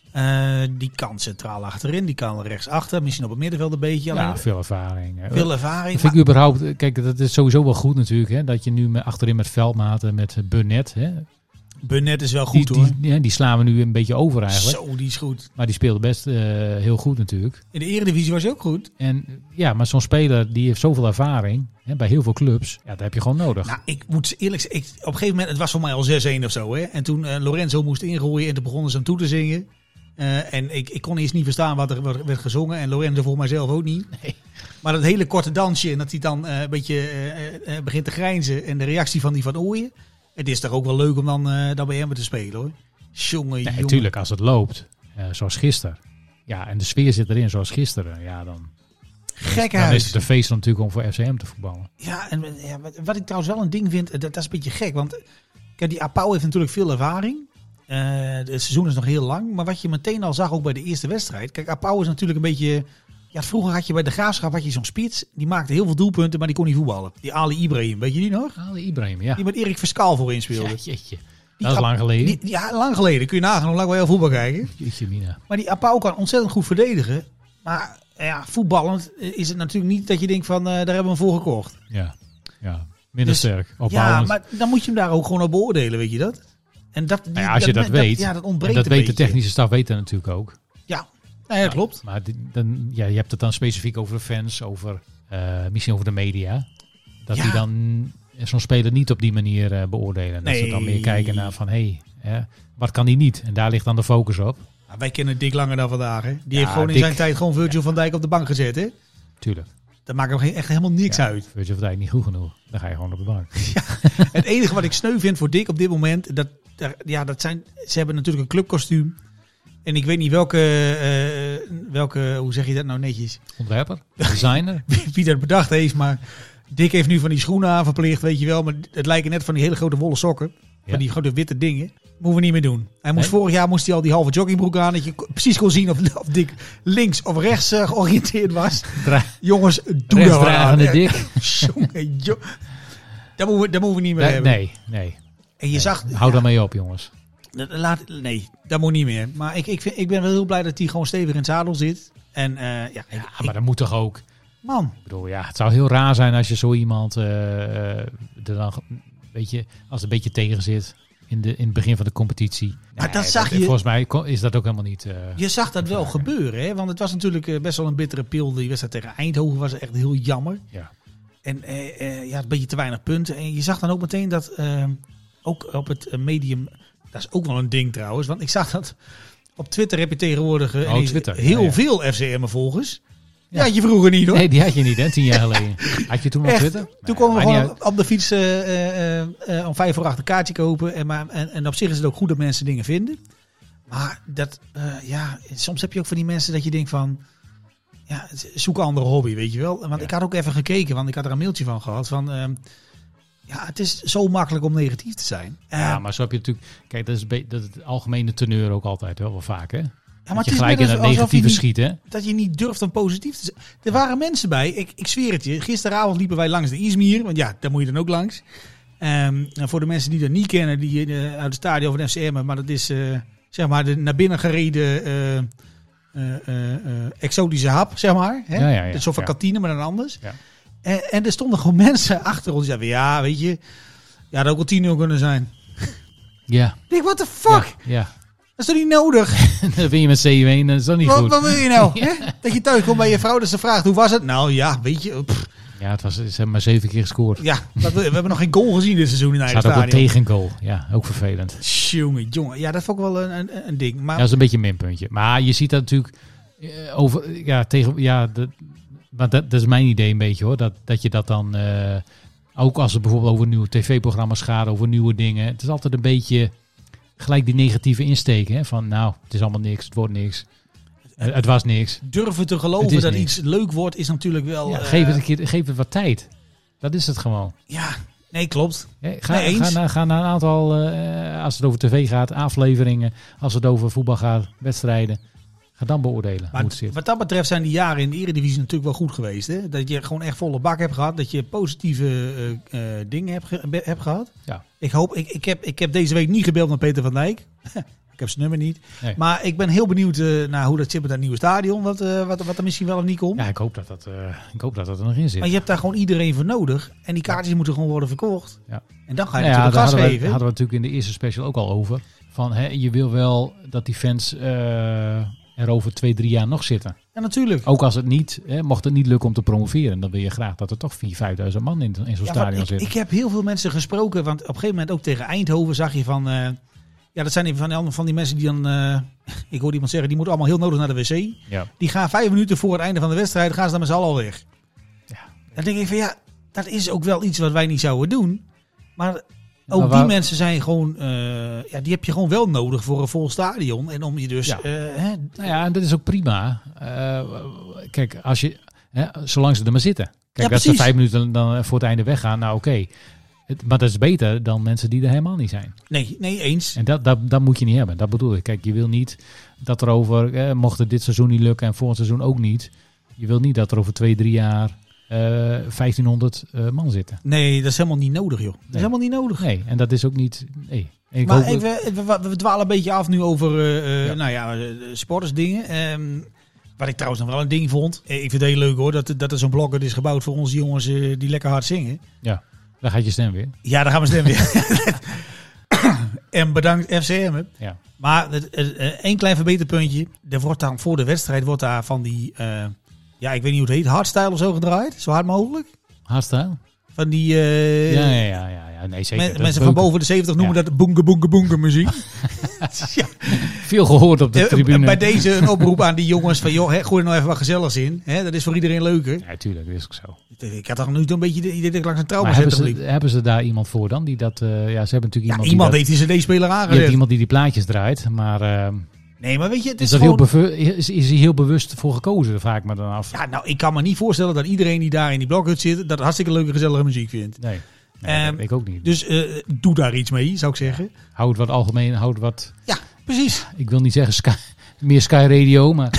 E: Eh, die kan centraal achterin, die kan rechtsachter, misschien op het middenveld een beetje.
F: Ja,
E: Alleen
F: veel ervaring. eh.
E: veel ervaring.
F: Dat vind ik überhaupt, kijk, dat is sowieso wel goed natuurlijk. Hè, dat je nu met, achterin met Veldmaten, met Burnett. Hè,
E: Maar Burnett is wel
F: die,
E: goed hoor.
F: die, ja, die slaan we nu een beetje over eigenlijk.
E: Zo, die is goed.
F: Maar die speelde best eh, heel goed natuurlijk.
E: In de Eredivisie was hij ook goed.
F: En ja, maar zo'n speler die heeft zoveel ervaring hè, bij heel veel clubs. Ja, dat heb je gewoon nodig.
E: Nou, ik moet eerlijk zeggen, ik, op een gegeven moment, het was voor mij al 6-1 of zo. Hè? En toen eh, Lorenzo moest ingooien en toen begonnen ze hem toe te zingen. Eh, en ik, ik kon eerst niet verstaan wat er wat- werd gezongen. En Lorenzo voor mijzelf ook niet. Maar dat hele korte dansje en dat hij dan eh, een beetje eh, eh, begint te grijnzen. En de reactie van die van Ooyen. Het is toch ook wel leuk om dan, eh, dan bij hem te spelen hoor. Jongen,
F: Nee,
E: jongen.
F: natuurlijk, als het loopt, eh, zoals gisteren. Ja, en de sfeer zit erin zoals gisteren. Ja, dan, dan is
E: Gekkenhuis.
F: het een feest natuurlijk om voor FCM te voetballen.
E: Ja, en eh, ja, wat- wat ik trouwens wel een ding vind, eh, dat, dat is een beetje gek. Want eh, kijk, die Apau heeft natuurlijk veel ervaring. Eh, het seizoen is nog heel lang. Maar wat je meteen al zag, ook bij de eerste wedstrijd. Kijk, Apau is natuurlijk een beetje... Ja, vroeger had je bij de Graafschap had je zo'n spits. Die maakte heel veel doelpunten, maar die kon niet voetballen. Die Ali Ibrahim, weet je die nog?
F: Ali Ibrahim, ja.
E: Die met Erik Verskaal voor inspeelde.
F: ja
E: Die
F: jeetje. Dat is
E: kap-
F: lang geleden.
E: die- ja, lang geleden. Kun je nagaan hoe lang wij al voetbal kijken.
F: Jeetje, Mina.
E: Maar die Apau kan ontzettend goed verdedigen. Maar eh, ja, voetballend eh, is het natuurlijk niet dat je denkt van... eh, daar hebben we hem voor gekocht.
F: Ja, ja. minder
E: Dus-
F: sterk.
E: Ja,
F: Opbouwend.
E: maar dan moet je hem daar ook gewoon op beoordelen, weet je dat? En dat, die-
F: Nou ja, als je dat, weet,
E: ja, dat ontbreekt
F: en dat
E: een
F: weet de
E: beetje.
F: technische staf weet dat natuurlijk ook.
E: Ja, nou ja, klopt.
F: Maar die- dan, ja, je hebt het dan specifiek over de fans, over, eh, misschien over de media. Dat
E: Ja.
F: die dan eh, zo'n speler niet op die manier eh, beoordelen. Dat ze dan
E: Nee.
F: meer kijken naar van, hé, hè, wat kan die niet? En daar ligt dan de focus op.
E: Ja, Nou, wij kennen Dick Langer dan vandaag, hè? Die heeft gewoon in
F: Dick.
E: zijn tijd gewoon Virgil van Dijk op de bank gezet, hè?
F: Tuurlijk.
E: Dat maakt hem geen- echt helemaal niks
F: Ja,
E: uit.
F: Virgil van Dijk niet goed genoeg. Dan ga je gewoon op de bank.
E: Het enige wat ik sneu vind voor Dick op dit moment, dat, daar- ja, dat zijn, ze hebben natuurlijk een clubkostuum. En ik weet niet welke, eh, welke, hoe zeg je dat nou netjes,
F: Ontwerper, designer.
E: wie, wie dat bedacht heeft, maar Dick heeft nu van die schoenen aan verplicht, weet je wel. Maar het lijken net van die hele grote wollen sokken.
F: Ja.
E: Van die grote witte dingen. Moeten we niet meer doen. Hij moest
F: Nee?
E: vorig jaar moest hij al die halve joggingbroek aan. Dat je ko- precies kon zien of, of Dick links of rechts eh, georiënteerd was.
F: Dra-
E: Jongens, doe dat aan.
F: Rechtsdragende
E: Eh,
F: dik.
E: jongen, jo- dat, moeten we, dat moeten we niet meer
F: Nee,
E: hebben.
F: nee, nee.
E: En je zag...
F: Hou daarmee op, jongens.
E: Dat- Laat, nee, dat moet niet meer. Maar ik, ik, vind, ik ben wel heel blij dat hij gewoon stevig in het zadel zit. En eh, ja, ik-
F: Ja, maar dat moet toch ook...
E: man,
F: Ik bedoel, ja, het zou heel raar zijn als je zo iemand eh, eh, er dan, weet je, als het een beetje tegen zit in, de, in het begin van de competitie.
E: Maar dat zag je-
F: Volgens mij ko- is dat ook helemaal niet. eh,
E: Je zag dat wel gebeuren, hè? want het was natuurlijk eh, best wel een bittere pil. Die wedstrijd tegen Eindhoven was echt heel jammer.
F: ja.
E: En eh, eh, ja, een beetje te weinig punten. En je zag dan ook meteen dat, eh, ook op het eh, medium, dat is ook wel een ding trouwens. Want ik zag dat op Twitter heb je tegenwoordig eh,
F: Oh,
E: ineens
F: Twitter, ja,
E: heel
F: ja.
E: veel FCM-volgers. Ja.
F: Ja.
E: je vroeger niet hoor.
F: Nee, die had je niet, hè? Tien jaar geleden. Had je toen op
E: Echt,
F: Twitter?
E: Toen
F: Nee,
E: kwamen we
F: maakt niet
E: gewoon
F: uit.
E: op, op de fiets eh, eh, eh, eh, om vijf voor acht een kaartje kopen. En, maar, en, en op zich is het ook goed dat mensen dingen vinden. Maar dat, eh, ja, soms heb je ook van die mensen dat je denkt van... Ja, zoek een andere hobby, weet je wel. Want ik had ook even gekeken, want ik had er een mailtje van gehad. Van, ehm, ja, het is zo makkelijk om negatief te zijn. Eh,
F: Ja, maar zo heb je natuurlijk. Kijk, dat is, be- dat is het algemene teneur ook altijd wel, wel vaak, hè?
E: ja,
F: dat je
E: net
F: gelijk in
E: alsof-
F: het
E: alsof je
F: negatieve
E: niet-
F: schiet, hè?
E: dat je niet durft om positief te zijn. Er waren mensen bij, ik, ik zweer het je. Gisteravond liepen wij langs de Izmir, want ja, daar moet je dan ook langs. Ehm, en voor de mensen die dat niet kennen, die eh, uit het stadion van FCM, maar dat is eh, zeg maar de naar binnen gereden eh, eh, eh, eh, exotische hap, zeg maar. Hè?
F: Ja, ja, ja,
E: Dat is zo'n van
F: ja.
E: kantine, maar dan anders.
F: Ja.
E: En, en er stonden gewoon mensen achter ons die zeiden, ja, weet je, ja, dat had ook al 10 uur kunnen zijn.
F: Ja.
E: Ik denk, what the fuck?
F: Ja.
E: Dat is toch niet nodig?
F: Dan ben je met CU1, dat is dan niet
E: Wat,
F: goed.
E: wat wil je nou? hè? Dat je thuis komt bij je vrouw, dat ze vraagt, hoe was het? Nou ja, weet je, pff,
F: Ja, het was, ze hebben maar zeven keer gescoord. Het
E: Ja, wat wil je? we hebben nog geen goal gezien dit seizoen in eigen
F: staat ook wel
E: stadion.
F: tegengoal. Ja, ook vervelend.
E: Jongen, jongen. Ja, dat vond ik wel een, een, een ding. Maar
F: Ja, dat is een beetje een minpuntje. Maar je ziet dat natuurlijk eh, over. Ja, tegen. Ja, dat, maar dat, dat is mijn idee een beetje hoor. Dat, dat je dat dan. eh, ook als het bijvoorbeeld over nieuwe tv-programma's gaat, over nieuwe dingen. Het is altijd een beetje gelijk die negatieve insteek. Hè? Van nou, het is allemaal niks, het wordt niks. eh, Het was niks.
E: durven te
F: Het
E: geloven
F: is
E: dat
F: niks.
E: iets leuk wordt, is natuurlijk wel...
F: Ja,
E: eh,
F: geef, het een keer, geef het wat tijd. Dat is het gewoon.
E: Ja, Nee, klopt.
F: Hè, Ga,
E: Nee, eens.
F: ga, naar, ga naar een aantal, eh, als het over tv gaat, afleveringen. Als het over voetbal gaat, wedstrijden. Ga dan beoordelen
E: Maar
F: hoe het zit.
E: wat dat betreft zijn die jaren in de Eredivisie natuurlijk wel goed geweest. Hè? Dat je gewoon echt volle bak hebt gehad. Dat je positieve eh, eh, dingen hebt, ge- be- hebt gehad.
F: Ja.
E: Ik, hoop, ik, ik, heb, ik heb deze week niet gebeld naar Peter van Dijk. ik heb zijn nummer niet.
F: Nee.
E: Maar ik ben heel benieuwd eh, naar hoe dat zit met dat nieuwe stadion. Wat, eh, wat, wat er misschien wel of niet komt.
F: Ja, ik hoop dat dat, eh, ik hoop dat dat er nog in zit.
E: Maar je hebt daar gewoon iedereen voor nodig. En die kaartjes moeten gewoon worden verkocht.
F: Ja.
E: En dan ga je
F: Nou ja,
E: natuurlijk
F: daar
E: gas
F: hadden we,
E: geven.
F: hadden we natuurlijk in de eerste special ook al over. Van, hè, je wil wel dat die fans eh, er over twee, drie jaar nog zitten.
E: Ja, natuurlijk.
F: Ook als het niet, hè, mocht het niet lukken om te promoveren, dan wil je graag dat er toch 4.000, 5.000 man in, in zo'n
E: Ja, maar
F: stadion
E: ik,
F: zitten.
E: ik heb heel veel mensen gesproken, want op een gegeven moment ook tegen Eindhoven zag je van... eh, ja, dat zijn even van, die- van die mensen die dan... eh, ik hoorde iemand zeggen, die moeten allemaal heel nodig naar de wc.
F: ja.
E: Die gaan vijf minuten voor het einde van de wedstrijd, gaan ze dan met z'n allen al weg.
F: Ja.
E: Dan denk ik van ja, dat is ook wel iets wat wij niet zouden doen. Maar ook
F: Maar
E: die
F: waar-
E: mensen zijn gewoon... eh, ja, die heb je gewoon wel nodig voor een vol stadion. En om je dus...
F: Ja.
E: eh, hè,
F: Nou ja, en dat is ook prima. Eh, kijk, als je, hè, zolang ze er maar zitten. Kijk,
E: Ja,
F: dat ze
E: precies.
F: vijf minuten dan voor het einde weggaan, nou oké. Het- Maar dat is beter dan mensen die er helemaal niet zijn.
E: nee, nee, eens.
F: En dat, dat, dat moet je niet hebben. Dat bedoel ik. Kijk, je wil niet dat er over, eh, mocht het dit seizoen niet lukken en volgend seizoen ook niet. Je wil niet dat er over twee, drie jaar eh, 1500 eh, man zitten.
E: Nee, dat is helemaal niet nodig, joh. Dat is
F: Nee.
E: helemaal niet nodig.
F: Nee, en dat is ook niet. Nee. En ik
E: maar
F: hoop-
E: even, even, we, we dwalen een beetje af nu over eh, eh,
F: Ja.
E: Nou ja, eh, sportersdingen. Ehm, wat ik trouwens nog wel een ding vond. Eh, Ik vind het heel leuk hoor, dat, dat er zo'n blokker is gebouwd voor onze jongens eh, die lekker hard zingen.
F: ja, daar gaat je stem weer.
E: Ja, daar gaan we stemmen. en bedankt FCM. hè.
F: Ja.
E: Maar het- het- eh, één klein verbeterpuntje. Er wordt dan voor de wedstrijd wordt daar van die, eh, ja ik weet niet hoe het heet, hardstyle of zo gedraaid. Zo hard mogelijk.
F: Haasta.
E: Van die, eh,
F: Ja, ja, ja, ja, ja. Nee, zeker.
E: men-
F: Dat is
E: mensen van
F: leuk.
E: boven de 70 noemen dat boenge boenge boenge muziek. ja.
F: Veel gehoord op de
E: Eh,
F: tribune.
E: Bij deze een oproep aan die jongens van, joh, hè, gooi er nou even wat gezelligs in. Hè, dat is voor iedereen leuker.
F: Ja, tuurlijk, dat is ook
E: Oh,
F: zo.
E: Ik had toch nu een beetje de idee dat ik langs een
F: Maar
E: trauma
F: hebben
E: zette
F: ze,
E: liep.
F: hebben ze daar iemand voor dan? Die dat, eh, ja, ze hebben natuurlijk
E: Ja,
F: iemand,
E: iemand
F: die,
E: heeft die cd-speler
F: dat, je hebt
E: aangezet.
F: iemand die die plaatjes draait. Maar ehm,
E: Nee, maar weet je, het
F: is,
E: is,
F: dat
E: gewoon...
F: heel beve- is, is hij heel bewust voor gekozen? Daar vraag ik me dan af.
E: Ja, nou, ik kan me niet voorstellen dat iedereen die daar in die blokhut zit, dat hartstikke leuke, gezellige muziek vindt.
F: Nee, nee
E: Ehm,
F: dat- ik ook niet.
E: Dus eh, doe daar iets mee, zou ik zeggen.
F: Houd het wat algemeen, houd het wat...
E: Ja, precies.
F: Ik wil niet zeggen sky, meer Sky Radio, maar...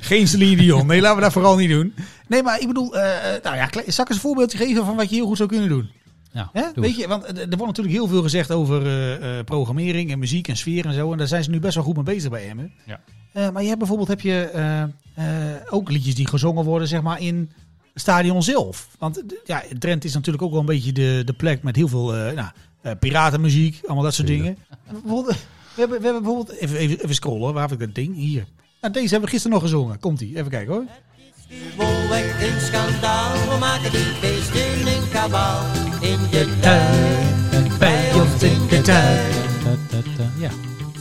E: Geen Celine Dion. Nee, laten we dat vooral niet doen. Nee, maar ik bedoel, eh, nou ja, kle- zal ik eens een voorbeeldje geven van wat je heel goed zou kunnen doen?
F: Nou,
E: Hè?
F: doe
E: Weet
F: eens.
E: je, want eh, er wordt natuurlijk heel veel gezegd over eh, eh, programmering en muziek en sfeer en zo. En daar zijn ze nu best wel goed mee bezig bij Emmen.
F: Ja.
E: Eh, maar je hebt bijvoorbeeld heb je, eh, eh, ook liedjes die gezongen worden zeg maar, in het stadion zelf. Want eh, d- ja, Drenthe is natuurlijk ook wel een beetje de, de plek met heel veel eh, nou, eh, piratenmuziek, allemaal dat soort
F: Tuurlijk.
E: dingen. Bijvoorbeeld, we, hebben, we hebben bijvoorbeeld, even, even, even scrollen, waar heb ik dat ding? Hier. Nou, deze hebben we gisteren nog gezongen. Komt-ie, even kijken hoor.
G: Volweg een schandaal, we maken die beesten een kabaal. In de tuin, bij ons in de tuin.
F: Dat- dat, eh, ja.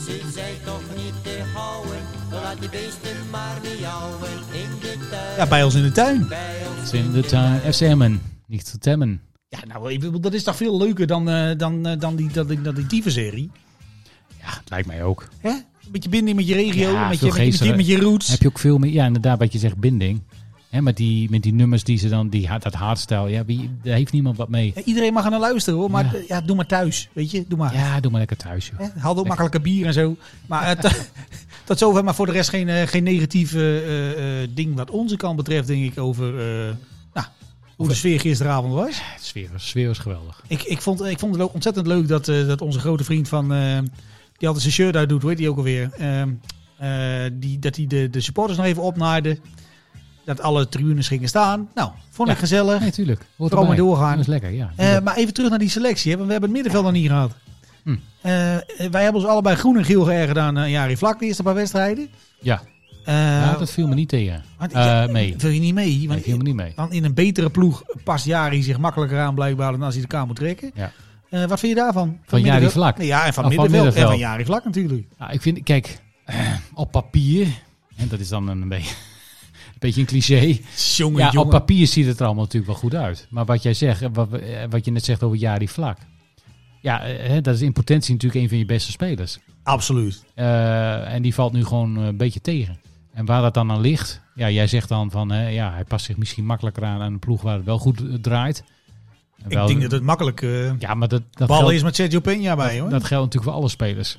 G: Ze zijn toch niet te houden, laat die beesten maar miauwen. In de tuin,
E: Ja, bij ons in de tuin.
G: bij ons.
F: It's in the time. FCM'en, niet te temmen.
E: Ja, nou, ik bedoel, dat is toch veel leuker dan, eh, dan, eh, dan die, dat, die, dat die dievenserie.
F: Ja, het lijkt mij ook.
E: Hè? Een beetje binden met je regio,
F: Ja,
E: met, je, met,
F: veel
E: je- met, je,
F: geestere-
E: met je roots.
F: Heb je ook veel meer, ja, inderdaad, wat je zegt, binding. Hè, met, die, met die nummers die ze dan, die, ha- dat hardstyle, ja, wie, daar heeft niemand wat mee.
E: Ja, iedereen mag er naar luisteren hoor, maar
F: Ja.
E: eh, ja. doe maar thuis, weet je. Doe maar.
F: Ja, doe maar lekker thuis. Joh.
E: Hè? Haal ook makkelijke bier en zo. Maar eh, t- tot zover, maar voor de rest geen, eh, geen negatief eh, eh, eh, ding wat onze kant betreft, denk ik, over eh, nou, hoe de sfeer gisteravond was.
F: Ja, de sfeer was, sfeer was geweldig.
E: Ik, ik, vond, ik vond het ook ontzettend leuk dat, eh, dat onze grote vriend van... eh, die altijd zijn shirt uit doet, weet die ook alweer. Ehm, eh, die, dat hij de, de supporters nog even opnaaide. Dat alle tribunes gingen staan. Nou, vond ik
F: Ja.
E: gezellig.
F: Nee, tuurlijk. Hoort
E: Vooral
F: erbij.
E: maar doorgaan.
F: Dat is lekker, ja.
E: Eh, maar even terug naar die selectie, hè, want we hebben het middenveld nog niet gehad.
F: Hm.
E: Eh, wij hebben ons allebei groen en geel geërgerd aan eh, Jari Vlak de eerste paar wedstrijden.
F: ja.
E: Eh,
F: ja, dat viel me niet tegen.
E: want-
F: Eh,
E: ja,
F: mee.
E: Wil je niet mee?
F: Nee,
E: Want,
F: viel me niet mee.
E: want in een betere ploeg past Jari zich makkelijker aan blijkbaar dan als hij de kamer moet trekken.
F: Ja.
E: Eh, wat vind je daarvan? Van,
F: Jari
E: middenveld?
F: Vlak?
E: Nee, ja, en van,
F: Oh, van
E: middenveld.
F: middenveld.
E: En van Jari Vlak natuurlijk.
F: Nou, ik vind, kijk, eh, op papier, en dat is dan een beetje, een, beetje een cliché.
E: Jongen,
F: Ja, op
E: jongen.
F: papier ziet het er allemaal natuurlijk wel goed uit. Maar wat jij zegt, eh, wat, we- eh, wat je net zegt over Jari Vlak. Ja, eh, hè, dat is in potentie natuurlijk een van je beste spelers.
E: Absoluut.
F: Eh, en die valt nu gewoon eh, een beetje tegen. En waar dat dan aan ligt, ja, jij zegt dan van hè, ja, hij past zich misschien makkelijker aan aan een ploeg waar het wel goed eh, draait.
E: Ik denk dat het makkelijk eh
F: Ja, maar dat, dat,
E: bal
F: geldt,
E: is met Sergio Peña bij, hoor.
F: dat geldt natuurlijk voor alle spelers.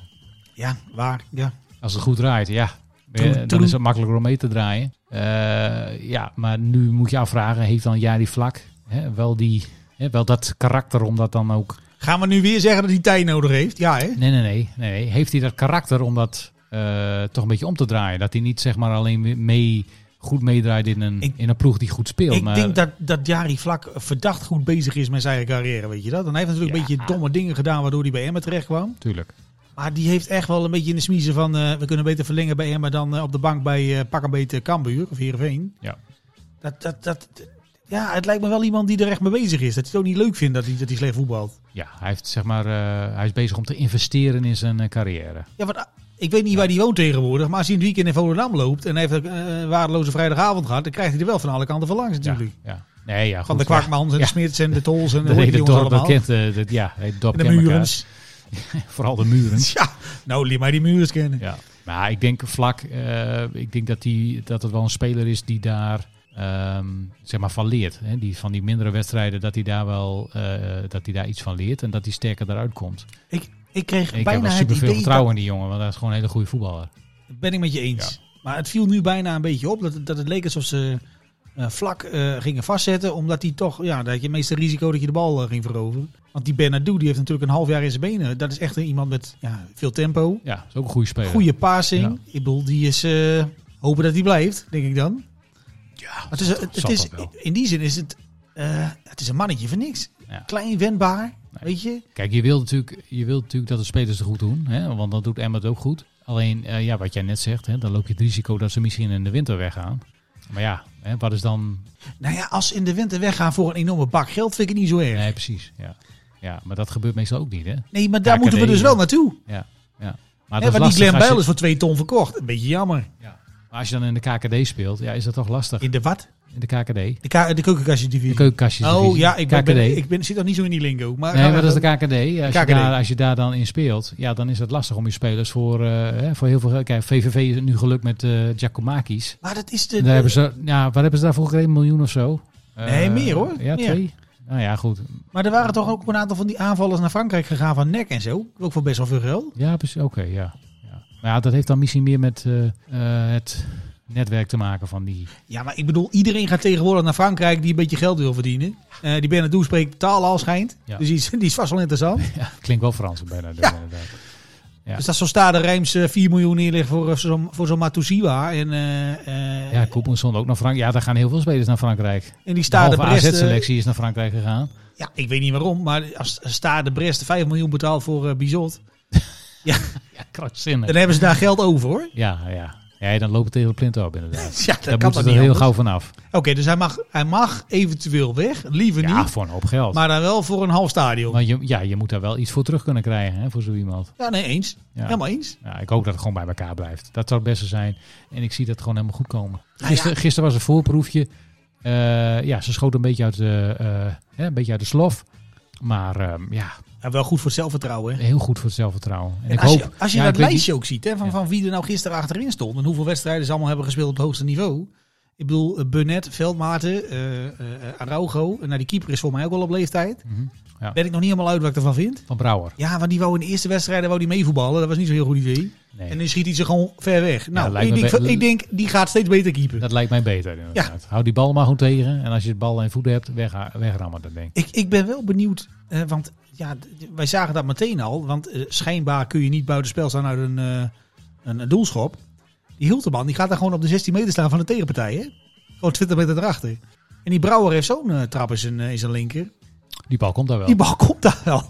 E: ja, waar. Ja.
F: Als het goed draait, ja.
E: Toen-
F: Eh,
E: toen-
F: Dan is het makkelijker om mee te draaien. Eh, ja, maar nu moet je afvragen, heeft dan Jari Vlak hè, wel, die, hè, wel dat karakter om dat dan ook...
E: Gaan we nu weer zeggen dat hij tijd nodig heeft? Ja, hè?
F: Nee, nee, nee. nee, nee. Heeft hij dat karakter om dat eh, toch een beetje om te draaien? Dat hij niet zeg maar alleen mee, goed meedraait in een,
E: Ik-
F: in een ploeg die goed speelt.
E: Ik
F: maar,
E: denk dat, dat Jari Vlak verdacht goed bezig is met zijn eigen carrière, weet je dat? En hij heeft natuurlijk een
F: Ja.
E: beetje domme dingen gedaan waardoor hij bij Emmen terecht kwam.
F: Tuurlijk.
E: Maar die heeft echt wel een beetje in de smiezen van... eh, we kunnen beter verlengen bij Emmen dan eh, op de bank bij eh pak een beetje Kambuur of Heerenveen.
F: Ja.
E: Dat, dat, dat, ja, het lijkt me wel iemand die er echt mee bezig is. Dat hij het ook niet leuk vindt dat hij, dat hij slecht voetbalt.
F: Ja, hij, heeft, zeg maar, eh, hij is bezig om te investeren in zijn eh, carrière.
E: Ja, want, ah, ik weet niet waar hij woont tegenwoordig, maar als hij een weekend in Volendam loopt... en hij heeft eh, een waardeloze vrijdagavond gehad, dan krijgt hij er wel van alle kanten van langs
F: Ja,
E: natuurlijk.
F: ja. Nee, ja,
E: Van
F: goed,
E: de Kwakmans en de Smits en de Tols en
F: Ja,
E: de,
F: de hele
E: jongens
F: dorp dat
E: allemaal.
F: kent, eh, dat, ja, het dorp
E: En de
F: kent elkaar.
E: Murens.
F: Vooral de muren.
E: Ja, nou, liet mij die Murens kennen.
F: Ja. Maar ik denk vlak, eh, ik denk dat, die, dat het wel een speler is die daar ehm, zeg maar van leert. Hè? Die, van die mindere wedstrijden, dat hij daar wel eh, dat hij daar iets van leert en dat hij sterker eruit komt.
E: Ik, ik kreeg
F: Ik heb
E: bijna
F: wel
E: het
F: super veel
E: idee
F: vertrouwen in die jongen, want hij is gewoon een hele goede voetballer.
E: Dat ben ik met je eens. Maar het viel nu bijna een beetje op dat, dat het leek alsof ze eh, vlak eh, gingen vastzetten. Omdat die toch, ja, dat je het meeste risico dat je de bal eh, ging veroveren. Want die Bernardo, die heeft natuurlijk een half jaar in zijn benen. Dat is echt een- iemand met ja, veel tempo,
F: Ja, is ook een goede speler.
E: goede passing.
F: Ja.
E: Ik bedoel, die is eh, hopen dat hij blijft, denk ik dan.
F: Ja,
E: Maar het is, het,
F: zal
E: is,
F: toch wel.
E: in die zin is het, eh, het is een mannetje voor niks.
F: Ja.
E: Klein, wendbaar,
F: Nee.
E: weet je.
F: Kijk, je wilt natuurlijk, je wilt natuurlijk dat de spelers het goed doen, hè? want dan doet Emma het ook goed. Alleen, eh, ja, wat jij net zegt, hè, dan loop je het risico dat ze misschien in de winter weggaan. Maar ja, hè, wat is dan
E: Nou ja, als ze in de winter weggaan voor een enorme bak geld, vind ik het niet zo erg.
F: Nee, precies. Ja. ja, maar dat gebeurt meestal ook niet, hè?
E: Nee, maar daar
F: Ja,
E: moeten we
F: Cadê,
E: dus wel
F: ja.
E: naartoe.
F: Ja. ja. Maar,
E: Ja,
F: dat is
E: maar die
F: lastig
E: Glenn
F: als je-
E: Bijl is voor 2 ton verkocht. Een beetje jammer.
F: Ja. Maar als je dan in de KKD speelt, ja, is dat toch lastig?
E: In de wat?
F: In de KKD?
E: De, ka- de
F: De
E: keukenkastjesdivisie.
F: keukenkastjes.
E: oh ja, ik, ben,
F: KKD.
E: ben- ik ben, zit nog niet zo in die lingo. Maar,
F: Nee, maar dat is de KKD. Als,
E: KKD.
F: Je daar, als je daar dan in speelt, ja, dan is het lastig om je spelers voor, eh, hè, voor heel veel geld. Kijk, VVV is het nu gelukt met eh Giacomakis.
E: maar dat is de...
F: En Daar hebben ze, ja, wat hebben ze daarvoor gekregen? Een miljoen of zo? Eh,
E: Nee, meer, hoor.
F: Ja,
E: Meer.
F: twee. Nou ja, goed.
E: Maar er waren toch ook een aantal van die aanvallers naar Frankrijk gegaan van nek en zo. Ook voor best wel veel geld.
F: Ja, precies. Oké, ja. ja. Maar ja, dat heeft dan misschien meer met eh, eh, het netwerk te maken van die...
E: Ja, maar ik bedoel, iedereen gaat tegenwoordig naar Frankrijk die een beetje geld wil verdienen. Eh die Bernadou spreekt taal al schijnt.
F: Ja.
E: Dus die is, die is vast wel interessant.
F: Ja, klinkt wel Frans bijna. dus inderdaad. Ja.
E: Dus dat zo'n Stade Rijms eh, 4 miljoen neerleggen voor, eh, zo'n- voor zo'n Matusiwa. En, eh, eh,
F: Ja, Koepelson ook naar Frankrijk. Ja, daar gaan heel veel spelers naar Frankrijk.
E: en die
F: De
E: Stade
F: halve
E: Brest... eh,
F: AZ-selectie is naar Frankrijk gegaan.
E: Ja, ik weet niet waarom, maar als Stade Brest 5 miljoen betaalt voor eh, Bizot,
F: Ja,
E: dan
F: krankzinnig.
E: hebben ze daar geld over hoor.
F: Ja, ja. Ja, dan lopen tegen de plint op inderdaad.
E: Ja, dat
F: Daar
E: kan
F: moeten
E: toch niet
F: ze er heel
E: anders?
F: gauw vanaf.
E: Oké, dus hij mag, hij mag eventueel weg, liever
F: Ja,
E: niet,
F: voor een hoop geld.
E: maar dan wel voor een half stadion.
F: Maar je, ja, je moet daar wel iets voor terug kunnen krijgen hè, voor zo iemand.
E: Ja, nee, eens.
F: Ja.
E: Helemaal eens.
F: Ja, ik hoop dat het gewoon bij elkaar blijft. Dat zou het beste zijn. En ik zie dat het gewoon helemaal goed komen.
E: Nou ja.
F: Gisteren, gisteren was een voorproefje. Eh, ja, ze schoten een beetje uit de, eh, hè, een beetje uit de slof. Maar ehm, ja,
E: Ja, wel goed voor het zelfvertrouwen. hè.
F: heel goed voor het zelfvertrouwen. En, ik
E: als,
F: hoop,
E: je, als je
F: ja, ik
E: dat
F: weet
E: lijstje ook ziet, hè, van,
F: Ja.
E: van wie er nou gisteren achterin stond en hoeveel wedstrijden ze allemaal hebben gespeeld op het hoogste niveau. Ik bedoel, eh, Burnett, Veldmaten, eh eh, eh, Araujo, en nou, die keeper is voor mij ook al op leeftijd.
F: Mhm, ja.
E: Ben ik nog niet helemaal uit wat ik ervan vind.
F: niet, Van Brouwer.
E: Ja, want die wou in de eerste wedstrijden wou die meevoetballen. Dat was niet zo'n heel goed idee.
F: Nee,
E: En nu schiet hij ze gewoon ver weg. Nou,
F: lijkt
E: ik,
F: me
E: denk,
F: be-
E: ik denk, die gaat steeds beter keeper.
F: dat lijkt mij beter inderdaad. Hou die bal maar goed tegen. En als je de bal in voeten hebt, weg, wegrammen dat ding.
E: Ik, ik ben wel benieuwd, eh, want ja, d- d- wij zagen dat meteen al. Want eh, schijnbaar kun je niet buitenspel staan uit een, eh, een, een doelschop. Die Hulteman, die gaat daar gewoon op de 16 meter staan van de tegenpartij. Hè? Gewoon 20 meter erachter. En die Brouwer heeft zo'n eh, trap in zijn, eh, in zijn linker.
F: Die bal komt daar wel.
E: Die bal komt daar wel.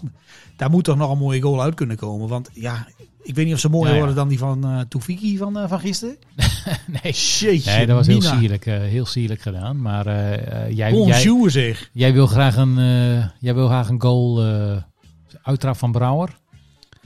E: Daar moet toch nog een mooie goal uit kunnen komen. Want ja, ik weet niet of ze mooier
F: Ja, ja.
E: worden dan die van eh Toefiki van, eh, van gisteren.
F: Nee.
E: Jeetje,
F: Nee, dat was heel
E: Mina.
F: sierlijk, eh, heel sierlijk gedaan. Maar eh, eh, jij, jij,
E: Bonjour zeg.
F: jij wil graag een, eh, jij wil graag een goal eh uittrap van Brouwer.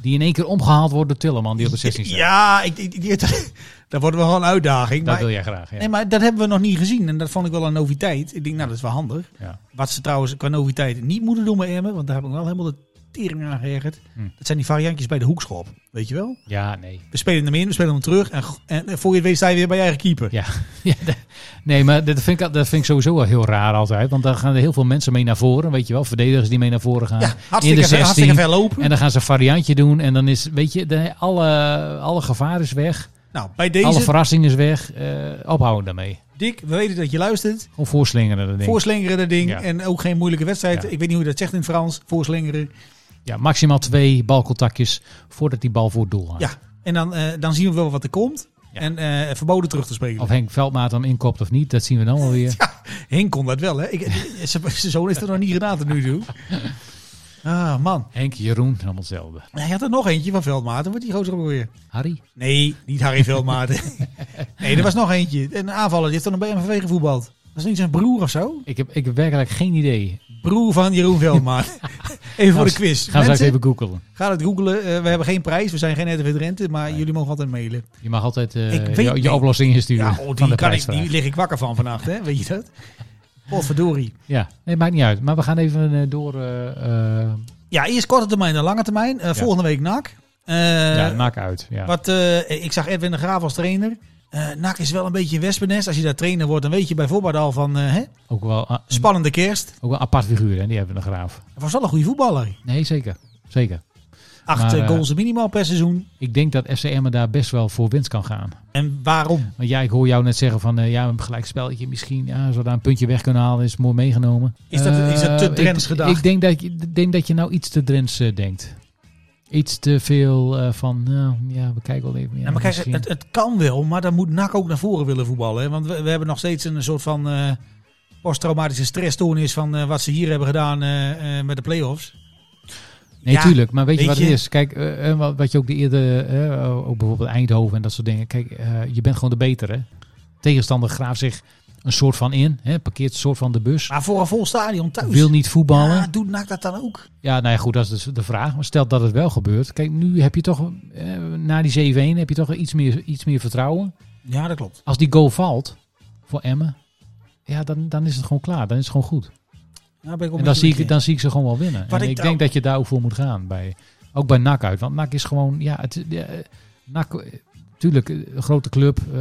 F: Die in één keer omgehaald wordt door Tilleman, die op de 16 staat.
E: Ja, ik, ik, ik- dat wordt wel een uitdaging.
F: Dat
E: Maar,
F: wil jij graag, ja.
E: nee, maar dat hebben we nog niet gezien. En dat vond ik wel een noviteit. Ik denk, nou, dat is wel handig.
F: Ja.
E: Wat ze trouwens qua noviteit niet moeten doen bij Emmen. Want daar heb ik wel helemaal de tering aan geërgerd.
F: Hm.
E: Dat zijn die variantjes bij de hoekschop, weet je wel?
F: Ja, nee.
E: We spelen hem in, we spelen hem terug en, go- en, en voor je het weet sta je weer bij je eigen keeper.
F: Ja, ja de- nee, maar dat vind, ik, al- dat vind ik sowieso wel heel raar altijd. Want daar gaan er heel veel mensen mee naar voren. Weet je wel, verdedigers die mee naar voren gaan.
E: Ja, hartstikke, ver, hartstikke ver lopen.
F: En dan gaan ze een variantje doen. En dan is, weet je, de, alle, alle gevaar is weg.
E: nou, bij deze,
F: Alle verrassing is weg. Eh, ophouden daarmee.
E: Dick, we weten dat je luistert.
F: Gewoon voorslingeren dat ding.
E: Voorslingeren dat ding
F: Ja.
E: en ook geen moeilijke wedstrijd.
F: Ja.
E: Ik weet niet hoe je dat zegt in het Frans, voorslingeren.
F: ja, maximaal twee balcontactjes voordat die bal voor het doel gaat.
E: Ja, en dan, eh, dan zien we wel wat er komt.
F: Ja.
E: En eh, verboden terug te spelen.
F: Of Henk Veldmaat hem inkopt of niet, dat zien we dan wel weer.
E: Henk kon dat wel, hè? Ik, zijn zijn zoon heeft dat nog niet gedaan tot nu toe. Ah, man.
F: Henk, Jeroen, allemaal hetzelfde.
E: Hij had er nog eentje van Veldmaten. Wat die gozer ook weer?
F: Harry?
E: Nee, niet Harry Veldmaten. nee, er was nog eentje. Een aanvaller. Die heeft dan bij MVV gevoetbald. Was niet zijn broer of zo?
F: Ik heb, ik heb werkelijk geen idee. Nou,
E: Broer van Jeroen Veldmaat. even voor de quiz.
F: Gaan we straks
E: Mensen,
F: even googelen.
E: ga het googlen. Eh, we hebben geen prijs. We zijn geen RTV Drenthe. Maar jullie mogen altijd mailen.
F: Je mag altijd eh,
E: Ik weet
F: je,
E: niet.
F: je oplossing insturen.
E: Ja, oh,
F: van
E: die,
F: de
E: kan ik,
F: prijsvraag.
E: die lig ik wakker van vannacht. Hè? Weet je dat? Potverdorie.
F: Ja, nee, maakt niet uit. Maar we gaan even eh, door. eh, eh,
E: Ja, eerst korte termijn en lange termijn. Eh, Volgende week NAC. Eh,
F: ja, maak uit. Ja.
E: Wat, eh, ik zag Edwin de Graaf als trainer. Eh NAC is wel een beetje een wespennest. Als je daar trainer wordt, dan weet je bij voorbaat al van eh, hè,
F: Ook, wel, ah, een,
E: spannende kerst.
F: ook wel een apart figuur, hè? die hebben we nog graaf.
E: Hij was wel een goede voetballer.
F: Nee, zeker. Zeker.
E: Acht
F: Maar,
E: eh,
F: eh,
E: goals minimaal per seizoen.
F: Ik denk dat FCM daar best wel voor winst kan gaan.
E: En waarom?
F: Want ja, ik hoor jou net zeggen van eh, ja, een gelijk spelletje misschien. Ja, zo daar een puntje weg kunnen halen is mooi meegenomen.
E: Is dat- is dat te
F: Eh, ik-
E: Drents gedacht?
F: Ik denk dat, je- ik denk dat je nou iets te Drents eh, denkt. Iets te veel eh, van, nou ja, we kijken wel even. Ja,
E: nou, maar kijk,
F: misschien.
E: het, het kan wel, maar dan moet NAC ook naar voren willen voetballen. Hè? Want we, we hebben nog steeds een soort van eh, posttraumatische stressstoornis van eh, wat ze hier hebben gedaan eh, eh, met de play-offs.
F: Nee,
E: Ja,
F: tuurlijk. Maar weet,
E: weet
F: je wat
E: je-
F: het is? Kijk, eh, eh, wat- wat je ook de eerder, eh, ook bijvoorbeeld Eindhoven en dat soort dingen. Kijk, eh, je bent gewoon de betere. Tegenstander graaft zich een soort van in. Hè, parkeert een soort van de bus.
E: Maar voor een vol stadion thuis.
F: Wil niet voetballen.
E: Ja,
F: Ja,
E: doet NAC dat dan ook?
F: nou ja, goed, dat is dus de vraag. Maar stel dat het wel gebeurt. Kijk, nu heb je toch, eh, na die 7-1, heb je toch iets meer, iets meer vertrouwen.
E: Ja, dat klopt.
F: Als die goal valt voor Emmen, ja, dan, dan is het gewoon klaar. Dan is het gewoon goed.
E: Ja, ben ik ook met
F: En dan
E: je
F: zie,
E: eens.
F: ik, dan zie ik ze gewoon wel winnen.
E: Wat
F: en
E: ik
F: ik,
E: trouw-
F: denk dat je daar ook voor moet gaan. Bij, ook bij NAC uit. Want NAC is gewoon... Ja, het, ja, eh, NAC, eh, tuurlijk, eh, een grote club, eh,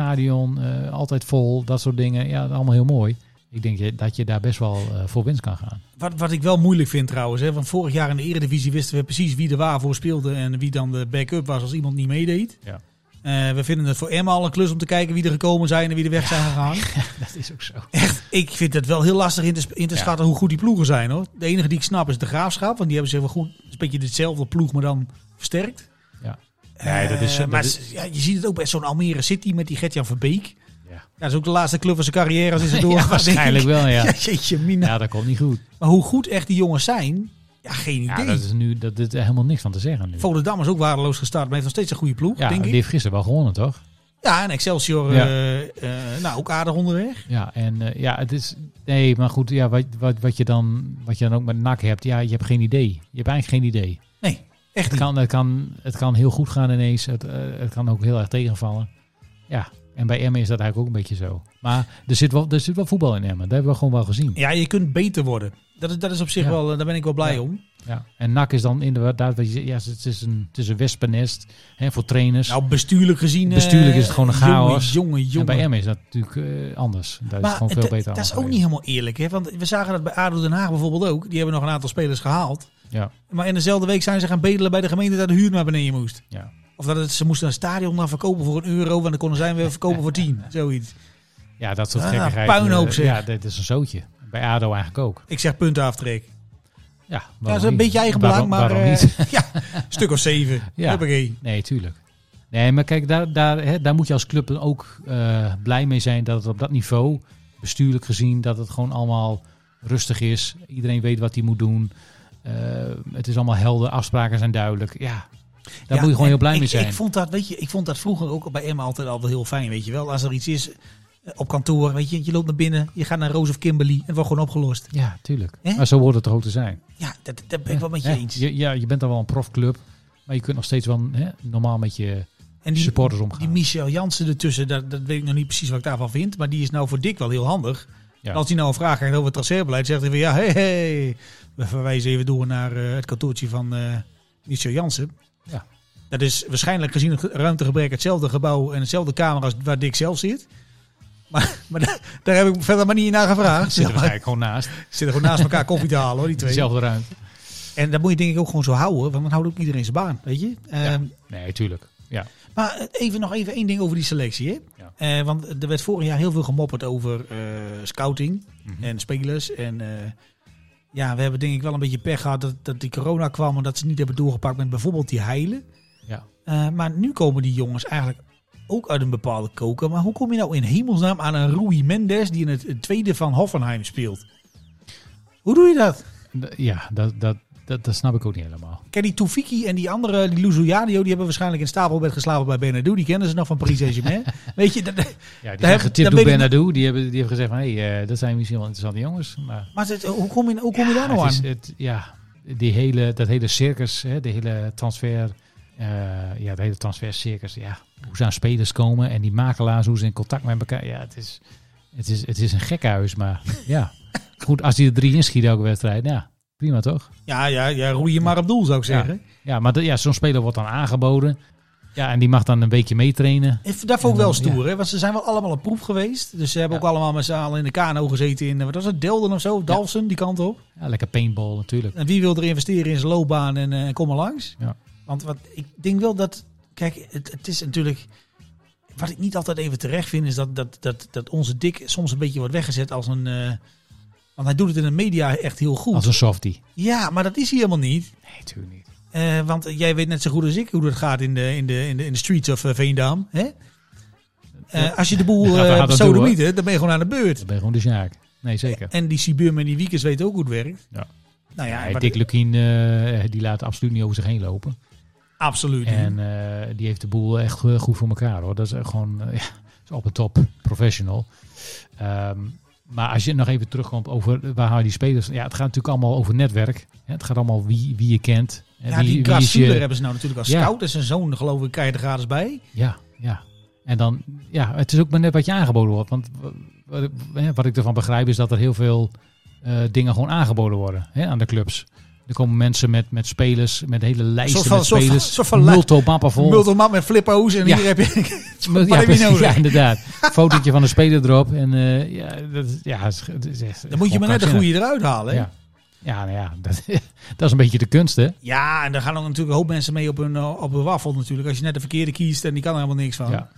F: stadion, eh, altijd vol, dat soort dingen. Ja, allemaal heel mooi. Ik denk je- dat je daar best wel eh, voor winst kan gaan.
E: Wat, wat ik wel moeilijk vind trouwens, hè, want vorig jaar in de Eredivisie wisten we precies wie er waarvoor speelde en wie dan de backup was als iemand niet meedeed.
F: Ja.
E: Eh, we vinden het voor Emma al een klus om te kijken wie er gekomen zijn en wie er weg zijn gegaan.
F: Dat is ook zo.
E: Ik vind het wel heel lastig in te, sp- in te schatten hoe goed die ploegen zijn hoor. De enige die ik snap is de graafschap, want die hebben ze wel goed. Het is een beetje dezelfde ploeg, maar dan versterkt.
F: Ja.
E: Nee, dat is,
F: dat
E: maar
F: is-
E: ze- ja, je ziet het ook bij zo'n Almere City met die Gertjan Verbeek.
F: Ja.
E: Ja. Dat is ook de laatste club van zijn carrière als hij ze door.
F: Ja, waarschijnlijk wel, ja.
E: jeetje, mina.
F: Ja, dat komt niet goed.
E: Maar hoe goed echt die jongens zijn, ja, geen idee.
F: Ja, dat is nu dat, dit helemaal niks van te zeggen nu.
E: Volendam is ook waardeloos gestart, maar heeft nog steeds een goede ploeg,
F: Ja,
E: denk
F: die
E: ik.
F: heeft gisteren wel gewonnen, toch?
E: Ja, en Excelsior,
F: Ja.
E: eh, eh, nou, ook aardig onderweg.
F: Ja, en eh, ja, het is. Nee, maar goed, ja, wat, wat, wat, je dan, wat je dan ook met NAC hebt, ja, je hebt geen idee. Je hebt eigenlijk geen idee.
E: Nee, echt
F: Het
E: niet.
F: kan, het, kan, het kan heel goed gaan ineens. Het, eh, het kan ook heel erg tegenvallen. Ja, en bij Emmen is dat eigenlijk ook een beetje zo. Maar er zit wel, er zit wel voetbal in Emmen. Dat hebben we gewoon wel gezien.
E: Ja, je kunt beter worden. Dat is, dat is op zich
F: Ja.
E: wel, eh, daar ben ik wel blij
F: Ja.
E: om.
F: Ja. En NAC is dan inderdaad, wat je zegt, ja, het is een, het is een wespennest hè, voor trainers.
E: Nou, bestuurlijk gezien... eh,
F: Bestuurlijk is het gewoon een chaos.
E: Jongen, jongen,
F: en
E: jongen.
F: bij Emmen is dat natuurlijk eh, anders. Daar is het gewoon
E: het-
F: veel beter
E: dat is
F: allemaal
E: ook niet
F: geweest.
E: helemaal eerlijk, hè? Want we zagen dat bij ADO Den Haag bijvoorbeeld ook. Die hebben nog een aantal spelers gehaald.
F: Ja,
E: Maar in dezelfde week zijn ze gaan bedelen bij de gemeente dat de huur naar beneden moest.
F: ja.
E: Of dat het, ze moesten een stadion naar verkopen voor een euro. En dan konden zij hem weer verkopen voor tien. Zoiets.
F: ja, dat soort
E: Ah,
F: gekkigheid.
E: puinhoop,
F: eh,
E: zeg.
F: Ja, dit is een zootje. Bij ADO eigenlijk ook.
E: Ik zeg puntenaftrek.
F: Ja,
E: Ja, dat
F: waarom
E: is een
F: niet?
E: beetje eigen belang,
F: Waarom-
E: maar
F: waarom
E: eh,
F: niet?
E: ja, een stuk of zeven.
F: Ja.
E: Huppakee.
F: Nee, tuurlijk. Nee, maar kijk, daar, daar, hè, daar moet je als club dan ook eh, blij mee zijn dat het op dat niveau, bestuurlijk gezien, dat het gewoon allemaal rustig is. Iedereen weet wat hij moet doen. Eh, het is allemaal helder, afspraken zijn duidelijk. Ja, daar
E: Ja,
F: moet je gewoon
E: en
F: heel blij
E: ik-
F: mee zijn.
E: Ik vond, dat, weet je, ik vond dat vroeger ook bij Emma altijd al wel heel fijn. Weet je wel, als er iets is eh, op kantoor, weet je, je loopt naar binnen, je gaat naar Roos of Kimberly en het wordt gewoon opgelost.
F: Ja, tuurlijk.
E: Hè?
F: Maar zo hoort het er ook te zijn.
E: Ja, dat, dat ben ik wel met je
F: Hè?
E: eens.
F: Je- ja, je bent dan wel een profclub, maar je kunt nog steeds wel hè, normaal met je
E: En die,
F: supporters
E: die
F: omgaan.
E: Michel Jansen ertussen, dat, dat weet ik nog niet precies wat ik daarvan vind. Maar die is nou voor Dick wel heel handig.
F: Ja.
E: Als hij nou een vraag krijgt over het traceerbeleid, zegt hij van ja, hey, hey. We verwijzen even door naar eh, het kantoortje van eh Michel Jansen.
F: Ja.
E: Dat is waarschijnlijk gezien het ruimtegebrek hetzelfde gebouw en hetzelfde kamer als waar Dick zelf zit. Maar, maar daar, daar heb ik verder maar niet naar gevraagd.
F: Zit er
E: Zeg maar.
F: waarschijnlijk gewoon naast.
E: Zitten gewoon naast elkaar koffie te halen hoor, die twee.
F: Dezelfde ruimte.
E: En dat moet je denk ik ook gewoon zo houden, want dan houdt ook iedereen zijn baan, weet je. Ehm,
F: Nee, tuurlijk. Ja.
E: maar eh, even nog even één ding over die selectie. Hè?
F: Ja.
E: Eh, want er werd vorig jaar heel veel gemopperd over eh, scouting
F: Mhm.
E: en spelers. En eh, ja, we hebben denk ik wel een beetje pech gehad dat, dat die corona kwam en dat ze niet hebben doorgepakt met bijvoorbeeld die heilen.
F: Ja.
E: Eh, maar nu komen die jongens eigenlijk ook uit een bepaalde koker. Maar hoe kom je nou in hemelsnaam aan een Rui Mendes die in het het tweede van Hoffenheim speelt? Hoe doe je dat?
F: D- Ja, dat, dat, dat, dat snap ik ook niet helemaal.
E: Kijk, die Toufiki en die andere, die Luzuyadio, die hebben waarschijnlijk in stapelbed geslapen bij Benadou. Die kennen ze nog van Paris Saint-Germain. Weet je, dat,
F: Ja, die
E: Daar
F: zijn
E: heb- daar
F: getipt door
E: ben ik-
F: Bernardo. Die hebben, die hebben gezegd van, hé, hey, eh, dat zijn misschien wel interessante jongens. Maar
E: maar het- hoe kom je, hoe kom je daar nou
F: het
E: aan?
F: is, het, ja, die hele, dat hele circus, hè, de hele transfer... eh, ja, de hele transfercircus. Ja, hoe ze aan spelers komen en die makelaars, hoe ze in contact met elkaar... Ja, het is, het is, het is een gekhuis, maar ja. Goed, als die er drie inschieten elke wedstrijd, ja, prima toch?
E: Ja, ja, ja, roei je maar op doel, zou ik zeggen.
F: Ja, maar dat- ja, zo'n speler wordt dan aangeboden. Ja, en die mag dan een weekje meetrainen.
E: Ik vind Dat vond ik
F: Ja,
E: wel
F: ja.
E: stoer, hè? want ze zijn wel allemaal op proef geweest. Dus ze hebben
F: Ja.
E: ook allemaal met z'n allen in de kano gezeten in, eh, wat was het, Delden of zo, Dalsen, die kant op.
F: Ja, lekker paintball natuurlijk.
E: En wie wil er investeren in zijn loopbaan en eh, kom maar langs?
F: Ja.
E: Want wat, ik denk wel dat, kijk, het, het is natuurlijk, wat ik niet altijd even terecht vind, is dat, dat, dat, dat onze dik soms een beetje wordt weggezet als een, eh, want hij doet het in de media echt heel goed.
F: Als een softie.
E: Ja, maar dat is hij helemaal niet.
F: Nee, natuurlijk niet.
E: Eh, want jij weet net zo goed als ik hoe dat gaat in de, in de, in de, in de streets of eh, Veendam. Hè? Eh, als je de
F: Daar
E: boel
F: gaat- daar
E: eh
F: gaat dat
E: zo
F: toe,
E: niet, hè, dan ben je gewoon aan de beurt.
F: Dan ben je gewoon de Sjaak. Nee, zeker.
E: En die Sibum en die Wiekers weten ook hoe het werkt.
F: Ja.
E: Nou ja,
F: Ja,
E: wat-
F: Dick Lukien, eh, die laat absoluut niet over zich heen lopen.
E: absoluut. niet.
F: En eh, die heeft de boel echt eh, goed voor elkaar hoor. Dat is echt gewoon eh, ja, is op en top professional. Ehm, maar als je nog even terugkomt over waar haal je die spelers. Ja, het gaat natuurlijk allemaal over netwerk. hè. Het gaat allemaal wie, wie je kent. en
E: ja,
F: wie,
E: die
F: wie is je-
E: Grassuler hebben ze nou natuurlijk als
F: Ja.
E: scout en zijn zoon, geloof ik, krijg je er gratis bij.
F: Ja, ja. En dan, ja, het is ook maar net wat je aangeboden wordt. Want wa- wat, ik- hè, wat ik ervan begrijp is dat er heel veel eh, dingen gewoon aangeboden worden hè, aan de clubs. Er komen mensen met, met spelers, met hele lijsten
E: Soort van-
F: met
E: soort van-
F: spelers.
E: soort van la-
F: multo mappen vol.
E: Multiman met flippo's en
F: Ja.
E: hier heb je...
F: Mul- ja,
E: heb je
F: precies,
E: nodig?
F: ja, inderdaad. Fotootje van een speler erop. En eh, ja, dat, is- ja, het is- het is echt-
E: Dan moet je maar net de
F: gewoon
E: goede eruit halen. hè.
F: krankzinnig. Ja, ja, nou ja dat, dat is een beetje de kunst, hè?
E: Ja, en daar gaan ook natuurlijk een hoop mensen mee op hun, eh, op hun waffel natuurlijk. Als je net de verkeerde kiest en die kan er helemaal niks van.
F: Ja.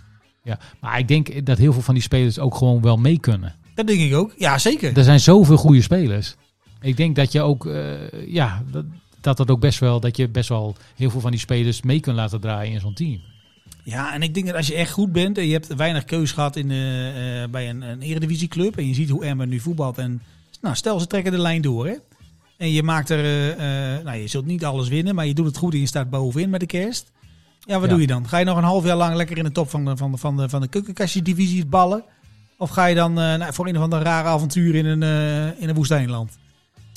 F: ja. Maar ik denk dat heel veel van die spelers ook gewoon wel mee kunnen.
E: Dat denk ik ook. Ja, zeker.
F: Er zijn zoveel goede spelers. Ik denk dat je ook, eh, ja, dat, dat dat ook best wel, dat je best wel heel veel van die spelers mee kunt laten draaien in zo'n team.
E: Ja, en ik denk dat als je echt goed bent en je hebt weinig keus gehad in, eh, eh, bij een, een eredivisieclub en je ziet hoe Emmen nu voetbalt en nou, stel ze trekken de lijn door hè. En je maakt er, eh, eh, nou je zult niet alles winnen, maar je doet het goed en je staat bovenin met de kerst. Ja, wat
F: Ja.
E: doe je dan? Ga je nog een half jaar lang lekker in de top van de, van de, van de, van de keukenkastje-divisie ballen? Of ga je dan eh, nou, voor een of ander raar avontuur in een, eh, in een woestijnland?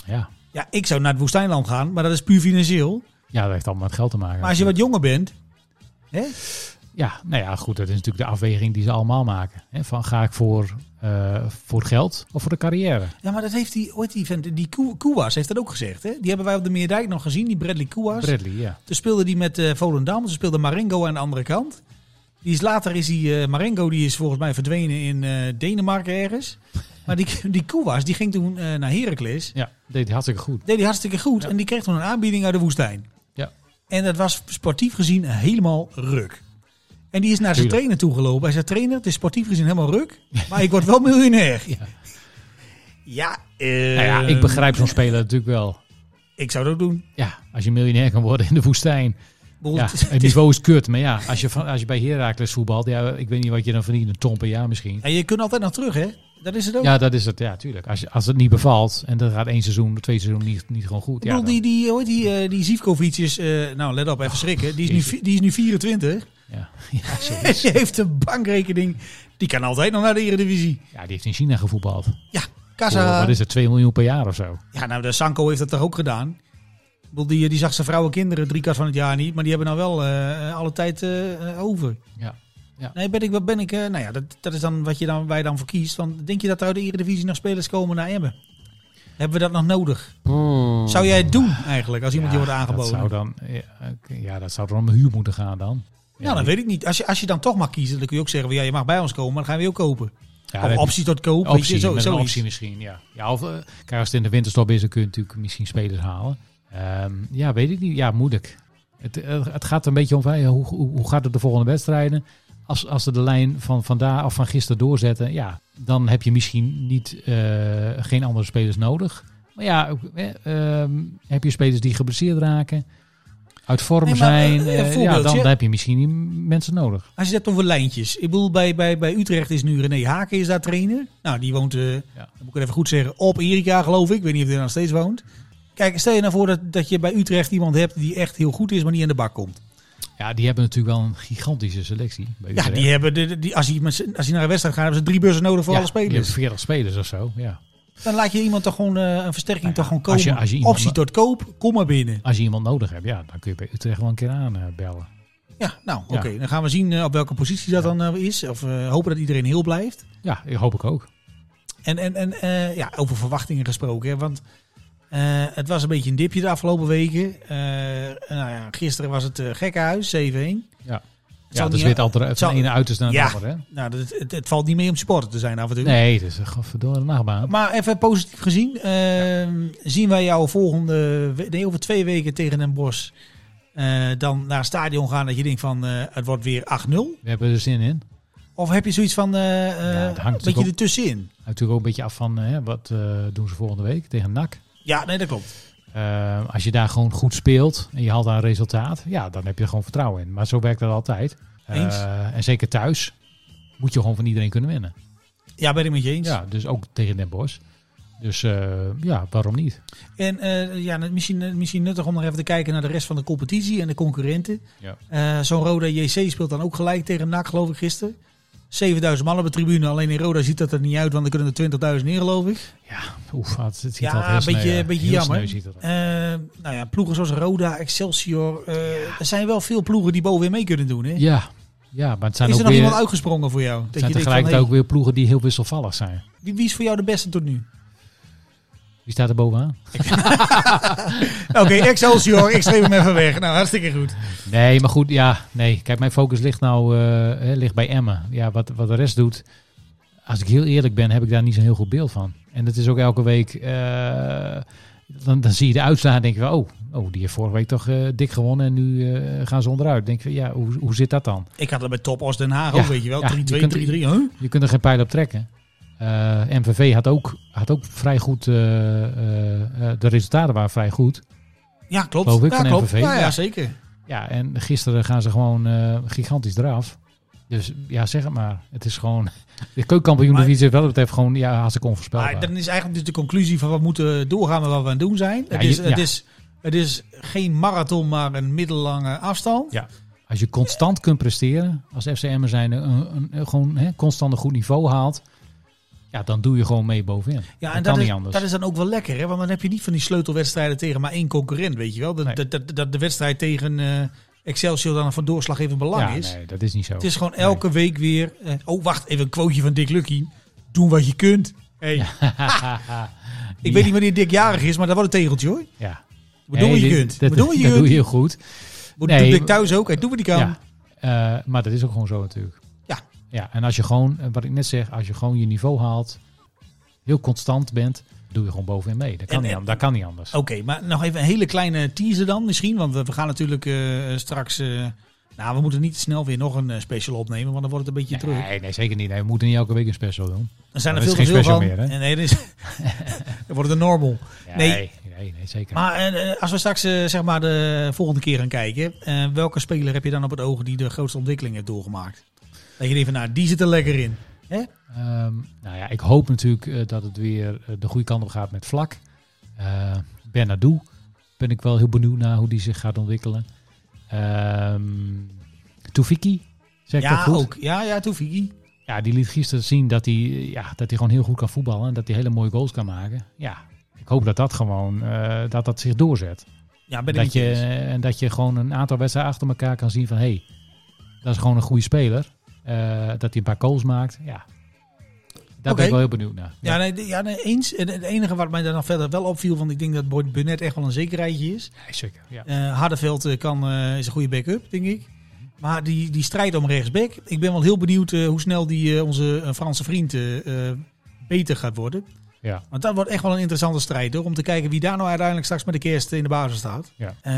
F: Ja,
E: Ja, ik zou naar het woestijnland gaan, maar dat is puur financieel.
F: ja dat heeft allemaal met geld te maken.
E: Maar als je wat jonger bent, hè,
F: Ja, nou ja, goed, dat is natuurlijk de afweging die ze allemaal maken. Hè? Van ga ik voor, eh, voor het geld of voor de carrière?
E: Ja, maar dat heeft die, ooit die vent, die Koe- Koewas heeft dat ook gezegd. Hè? Die hebben wij op de Meerdijk nog gezien, die Bradley Koewas.
F: Bradley, ja.
E: Toen speelde die met eh Volendam, toen speelde Marengo aan de andere kant. Die is, later is die, eh, Marengo die is volgens mij verdwenen in eh, Denemarken ergens. Maar die, die Koewas die ging toen eh, naar Heracles.
F: Ja, deed hij hartstikke goed.
E: Deed hij hartstikke goed
F: Ja.
E: en die kreeg toen een aanbieding uit de woestijn.
F: Ja.
E: En dat was sportief gezien helemaal ruk. En die is naar zijn
F: Tuurlijk.
E: trainer toegelopen. Hij zei, trainer, het is sportief gezien helemaal ruk, maar ik word wel miljonair. Ja, eh,
F: Nou ja, ik begrijp zo'n speler natuurlijk wel.
E: Ik zou dat ook doen.
F: Ja, als je miljonair kan worden in de woestijn.
E: Bedoel,
F: Ja,
E: het is-
F: het niveau is kut. Maar ja, als je, van, als je bij Heracles voetbalt, ja, ik weet niet wat je dan verdient, een ton per jaar misschien.
E: en je kunt altijd nog terug, hè? Dat is het ook.
F: Ja, dat is het. Ja, tuurlijk. Als, je- als het niet bevalt en dat gaat één seizoen, twee seizoen niet, niet gewoon goed.
E: ik
F: Ja,
E: bedoel,
F: dan- Oh,
E: die, die, hoe heet die, eh, die Zivkovic is, eh, nou let op, even schrikken. Die is, nu,
F: jeetje.
E: vi- die is nu 24.
F: ja. Ja, zo
E: En
F: is.
E: die heeft een bankrekening. Die kan altijd nog naar de Eredivisie.
F: ja, die heeft in China gevoetbald.
E: Ja,
F: Voor,
E: Kassa.
F: Oh, wat is het, 2 miljoen per jaar of zo?
E: Ja, nou, de Sanko heeft dat toch ook gedaan. Ik bedoel, Die, die zag zijn vrouwen kinderen drie kwart van het jaar niet. Maar die hebben nou wel eh, alle tijd eh, over.
F: Ja. Ja.
E: Nee, ben ik, wat ben ik, eh, nou ja, dat, dat is dan wat je dan, wij dan voor kiest. Want denk je dat er uit de Eredivisie nog spelers komen naar Emmen? Hebben we dat nog nodig? Zou jij het doen eigenlijk, als iemand je wordt aangeboden?
F: Hmm. Dat zou dan, ja, oké, ja, dat zou dan om de huur moeten gaan dan.
E: nou, dat weet ik niet. Als je, als je dan toch mag kiezen, dan kun je ook zeggen, van, ja, je mag bij ons komen, maar dan gaan we je ook kopen.
F: Ja,
E: of
F: dat-
E: optie tot koop. weet
F: optie,
E: je, zo,
F: met een
E: zoiets.
F: optie misschien, ja. ja of, eh, kijk, als het in de winterstop is, dan kun je natuurlijk misschien spelers halen. Ehm, ja, weet ik niet. Ja, moeilijk. Het, eh, het gaat een beetje om, van, ja, hoe, hoe, hoe gaat het de volgende wedstrijden? Als, als ze de lijn van vandaag of van gisteren doorzetten, ja, dan heb je misschien niet, eh, geen andere spelers nodig. Maar ja, ook, eh, ehm, heb je spelers die geblesseerd raken, uit vorm
E: Nee, maar,
F: zijn,
E: eh, een
F: eh, ja, dan,
E: voorbeeldje.
F: dan heb je misschien die mensen nodig.
E: Als je het hebt over lijntjes. Ik bedoel, bij, bij, bij Utrecht is nu René Haken is daar trainer. Nou, die woont, eh, dan moet ik het even goed zeggen, op Erika geloof ik. Ik weet niet of hij daar nog steeds woont. Kijk, stel je nou voor dat, dat je bij Utrecht iemand hebt die echt heel goed is, maar niet aan de bak komt.
F: Ja, die hebben natuurlijk wel een gigantische selectie. bij
E: Ja,
F: Utrecht.
E: die hebben de, die, als, die, met z'n- als die naar een wedstrijd gaat, hebben ze drie bussen nodig voor
F: Ja,
E: alle
F: die hebben
E: spelers.
F: 40 spelers of zo, ja.
E: Dan laat je iemand toch gewoon eh, een versterking
F: Nou ja,
E: toch gewoon komen.
F: als je- als je iemand-
E: Optie tot koop, kom maar binnen.
F: Als je iemand nodig hebt, ja, dan kun je bij Utrecht wel een keer eh, aanbellen.
E: Ja, nou oké.
F: Ja.
E: Dan gaan we zien eh, op welke positie dat dan eh, is. Of eh, hopen dat iedereen heel blijft.
F: Ja, ik hoop ik ook.
E: En, en, en eh, ja, over verwachtingen gesproken. Hè, want eh, het was een beetje een dipje de afgelopen weken. Eh, nou ja, gisteren was het eh gekkenhuis, 7-1.
F: Ja,
E: zal
F: ja dat is
E: niet-
F: weer altijd
E: zal-
F: van de ene uiterste naar de
E: Ja.
F: andere. Hè?
E: Nou, dat, het, het valt niet mee om supporter te zijn af en toe.
F: Nee, dat is een godverdomme nachtbaan.
E: Maar even positief gezien. eh, Zien wij jou volgende, we- nee, over twee weken tegen Den Bosch. eh, dan naar het stadion gaan dat je denkt van eh, het wordt weer 8-0?
F: We hebben er zin in.
E: Of heb je zoiets van eh, eh,
F: het hangt
E: een
F: natuurlijk
E: beetje
F: ook-
E: ertussenin?
F: Natuurlijk ook een beetje af van hè, wat eh, doen ze volgende week tegen NAC.
E: Ja, nee, dat klopt.
F: Eh, als je daar gewoon goed speelt en je haalt daar een resultaat, ja, dan heb je er gewoon vertrouwen in. Maar zo werkt dat altijd. Eh,
E: Eens.
F: en zeker thuis moet je gewoon van iedereen kunnen winnen.
E: Ja, ben ik met je eens.
F: Ja, dus ook tegen Den Bosch. Dus eh, ja, waarom niet?
E: En eh, ja, misschien, misschien nuttig om nog even te kijken naar de rest van de competitie en de concurrenten.
F: Ja.
E: Eh, Zo'n Roda JC speelt dan ook gelijk tegen NAC, geloof ik, gisteren. 7000 man op de tribune. Alleen in Roda ziet dat er niet uit, want dan kunnen er 20.000 neer, geloof ik.
F: Ja, oef, het ziet
E: Ja,
F: altijd heel
E: een beetje-
F: sneu,
E: een beetje
F: Heel
E: jammer.
F: sneu ziet het er.
E: Eh, nou ja, ploegen zoals Roda, Excelsior. eh, Er zijn wel veel ploegen die bovenin mee kunnen doen. Hè?
F: Ja, ja, maar het zijn
E: is er
F: ook
E: nog
F: weer,
E: iemand uitgesprongen voor jou?
F: het zijn
E: denkt van,
F: tegelijkertijd
E: hey,
F: ook weer ploegen die heel wisselvallig zijn.
E: wie, wie is voor jou de beste tot nu?
F: Wie staat er bovenaan?
E: Oké, Excelsior, ik schreef hem even weg. Nou, hartstikke goed.
F: Nee, maar goed, ja, nee. Kijk, mijn focus ligt nou eh, hè, ligt bij Emmen. Ja, wat, wat de rest doet, als ik heel eerlijk ben, heb ik daar niet zo'n heel goed beeld van. En dat is ook elke week, eh, dan, dan zie je de uitslagen en denk je, wel, oh, oh, die heeft vorige week toch eh, dik gewonnen en nu eh, gaan ze onderuit. Denk je, ja, hoe, hoe zit dat dan?
E: Ik had dat bij Top Os Den Haag
F: Ja,
E: ook, weet je wel.
F: ja,
E: 3-2, 3-3.
F: je kunt-
E: huh?
F: Je kunt er geen pijl op trekken. Eh, MVV had ook, had ook vrij goed, eh, eh, eh, de resultaten waren vrij goed.
E: Ja, klopt.
F: Geloof ik,
E: ja,
F: van
E: klopt.
F: NVV.
E: Ja, ja,
F: Ja.
E: zeker.
F: Ja, en gisteren gaan ze gewoon eh, gigantisch eraf. Dus ja, zeg het maar. Het is gewoon... De keukenkampioen
E: Maar-
F: of iets heeft wel betreft gewoon ja, hartstikke
E: Maar
F: onvoorspelbaar.
E: dan is eigenlijk dus de conclusie van we moeten doorgaan met wat we aan het doen zijn. het,
F: je-
E: is, het,
F: ja.
E: is, het is geen marathon, maar een middellange afstand.
F: Ja. Als je constant kunt presteren, als FCM'er zijn, een, een, een- gewoon hè, constant een goed niveau haalt, ja, dan doe je gewoon mee bovenin.
E: Ja,
F: dat
E: en
F: kan
E: dat is,
F: niet anders.
E: dat is dan ook wel lekker, hè? want dan heb je niet van die sleutelwedstrijden tegen maar één concurrent, weet je wel. Dat,
F: Nee.
E: dat, dat, dat de wedstrijd tegen eh, Excelsior dan van doorslag even belang
F: ja,
E: is.
F: nee, dat is niet zo.
E: Het is gewoon elke week weer... eh, oh, wacht, even een quoteje van Dick Lucky. Doen wat je kunt. Hey. Ik weet niet wanneer Dick jarig is, maar dat wordt een tegeltje hoor.
F: Ja.
E: Wat doen wat je
F: dit-
E: kunt.
F: Dat,
E: Wat doen wat je
F: dat doe
E: kunt.
F: je goed.
E: Wat
F: Nee,
E: doet Dick
F: maar-
E: thuis ook. Hey, doe wat hij kan.
F: Ja. Eh, maar dat is ook gewoon zo natuurlijk.
E: Ja.
F: ja. En als je gewoon, eh, wat ik net zeg, als je gewoon je niveau haalt, heel constant bent, doe je gewoon bovenin mee. Dat
E: En-
F: kan,
E: Oh,
F: niet,
E: en-
F: an- dat kan niet anders.
E: Oké, maar nog even een hele kleine teaser dan misschien. Want we we gaan natuurlijk eh, straks... eh, nou, we moeten niet snel weer nog een eh, special opnemen, want dan wordt het een beetje druk.
F: nee, nee, zeker niet. Nee, we moeten niet elke week een special doen.
E: Dan zijn er
F: dat
E: veel
F: is
E: te
F: geen
E: veel van.
F: special meer, hè?
E: En nee, dus, dan wordt het een normal. Nee.
F: nee, nee, zeker.
E: Maar eh, eh, als we straks eh, zeg maar de volgende keer gaan kijken, eh, welke speler heb je dan op het oog die de grootste ontwikkeling heeft doorgemaakt? Dat je denkt van, nou, die zit er lekker in.
F: Ehm, nou ja, ik hoop natuurlijk eh, dat het weer eh, de goede kant op gaat met vlak. Eh Bernardo ben ik wel heel benieuwd naar hoe die zich gaat ontwikkelen. Ehm Tufiki, zeg ik dat
E: ja,
F: goed?
E: ook. Ja, ja, Toefiki.
F: Ja, die liet gisteren zien dat hij, eh, ja, dat hij gewoon heel goed kan voetballen en dat hij hele mooie goals kan maken. Ja, ik hoop dat dat gewoon eh, dat dat zich doorzet.
E: Ja, ben ik
F: dat
E: met
F: je,
E: eens.
F: en dat je gewoon een aantal wedstrijden achter elkaar kan zien van hé, hey, dat is gewoon een goede speler. eh, dat hij een paar calls maakt. Ja. Daar
E: Oké.
F: ben ik wel heel benieuwd naar.
E: Ja, nee, d- ja nee, eens. En Het enige wat mij daar dan verder wel opviel, want ik denk dat Boyd Burnett echt wel een zekerheidje is.
F: Nee, zeker. Ja.
E: Eh Hardeveld eh, kan, eh, is een goede backup, denk ik. Maar die, die strijd om rechtsback, ik ben wel heel benieuwd eh, hoe snel die, eh, onze eh, Franse vriend eh, eh, beter gaat worden.
F: Ja.
E: Want dat wordt echt wel een interessante strijd hoor. Om te kijken wie daar nou uiteindelijk straks met de kerst in de basis staat.
F: Ja.
E: Eh,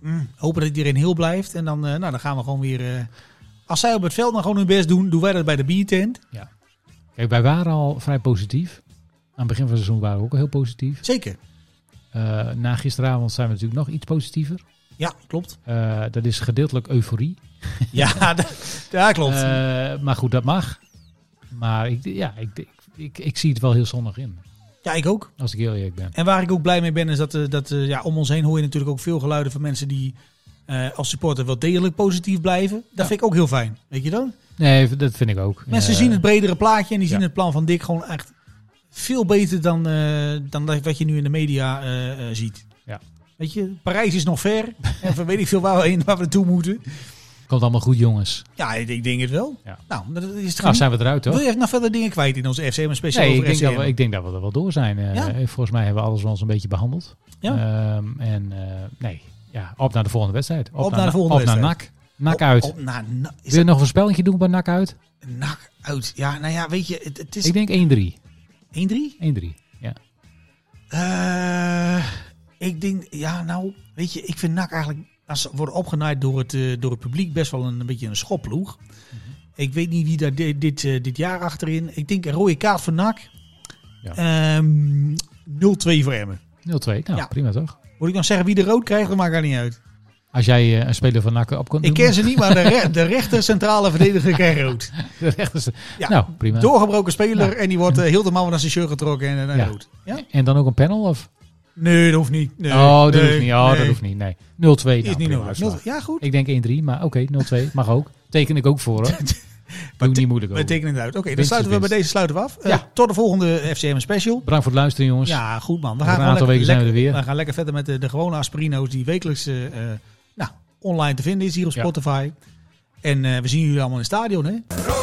E: mm, hopen dat iedereen heel blijft. En dan, eh, nou, dan gaan we gewoon weer. eh, als zij op het veld maar gewoon hun best doen, doen wij dat bij de biertent.
F: Kijk, wij waren al vrij positief. Aan het begin van het seizoen waren we ook al heel positief.
E: Zeker.
F: Eh, na gisteravond zijn we natuurlijk nog iets positiever.
E: Ja, klopt.
F: Eh, dat is gedeeltelijk euforie.
E: Ja, dat- ja klopt.
F: Eh, maar goed, dat mag. Maar ik, ja, ik, ik, ik, ik zie het wel heel zonnig in.
E: ja, ik ook.
F: Als ik heel eerlijk ben.
E: En waar ik ook blij mee ben, is dat, eh, dat eh, ja, om ons heen hoor je natuurlijk ook veel geluiden van mensen die eh, als supporter wel degelijk positief blijven. Dat vind ik ook heel fijn. Weet je dan?
F: Nee, dat vind ik ook.
E: Mensen
F: Eh,
E: zien het bredere plaatje en die zien
F: ja.
E: het plan van Dick gewoon echt veel beter dan, eh, dan dat wat je nu in de media eh, eh, ziet.
F: Ja.
E: Weet je, Parijs is nog ver. en van weet ik veel waar we heen, waar we naartoe moeten.
F: Komt allemaal goed, jongens.
E: Ja, ik, ik denk het wel.
F: Ja.
E: Nou, dat is het
F: Nou,
E: genoeg.
F: zijn we eruit,
E: Wil
F: hoor.
E: je even nog verder dingen kwijt in onze FCM special
F: Nee, ik
E: over
F: denk, dat
E: FCM?
F: we, ik denk dat we er wel door zijn. Eh,
E: Ja.
F: Volgens mij hebben we alles wel eens een beetje behandeld.
E: Ja.
F: Ehm, en eh, nee, ja, op naar de volgende wedstrijd.
E: Op naar de volgende
F: op naar
E: wedstrijd.
F: NAC. NAC uit.
E: Op, op, nou, nou, is
F: Wil je nog een spelletje doen bij NAC uit?
E: dat nak uit? Ja, nou ja, weet je, het, het is
F: Ik denk 1-3.
E: 1-3.
F: 1-3. Ja.
E: Eh, ik denk, ja, nou, weet je, ik vind NAC eigenlijk, als ze worden opgenaaid door het, eh, door het publiek, best wel een, een beetje een schopploeg.
F: Mhm.
E: Ik weet niet wie daar dit, dit, eh, dit jaar achterin. Ik denk een rode kaart voor NAC.
F: Ja.
E: Ehm, 0-2 voor Emmen.
F: 0-2. Nou,
E: Ja.
F: prima toch?
E: Moet ik nog zeggen wie de rood krijgt? Dat maakt daar niet uit.
F: Als jij eh, een speler van NAC op kon
E: Ik ken ze niet, maar de, re- de rechter centrale verdediger krijgt rood.
F: De rechterste.
E: Ja.
F: Nou, prima.
E: Doorgebroken speler en die wordt eh, heel de man naar zijn shirt getrokken en, en
F: Ja.
E: rood. Ja?
F: En dan ook een panel? Of?
E: Nee, dat hoeft niet. Nee,
F: oh, dat
E: nee,
F: hoeft niet. Oh, dat
E: nee.
F: hoeft niet. Nee. 0-2. nou,
E: Is niet
F: prima
E: nodig.
F: uitslag.
E: Nul- Ja, goed.
F: Ik denk 1-3, maar oké, 0-2. Mag ook. Teken ik ook voor hoor. Doe niet moeilijk
E: Wij
F: over.
E: tekenen het uit. Oké, dan
F: Winst
E: sluiten
F: is
E: we bij
F: winst.
E: deze sluiten we af. Eh,
F: Ja.
E: tot de volgende FCM special.
F: Bedankt voor het luisteren jongens.
E: Ja, goed man. We
F: Over
E: gaan
F: een
E: gewoon
F: aantal
E: lekker,
F: weken zijn we
E: lekker-
F: er weer.
E: We gaan lekker verder met de, de gewone Asperino's die wekelijks eh, eh, nou, online te vinden is hier op
F: Ja.
E: Spotify. En eh, we zien jullie allemaal in het stadion, hè?
C: Rood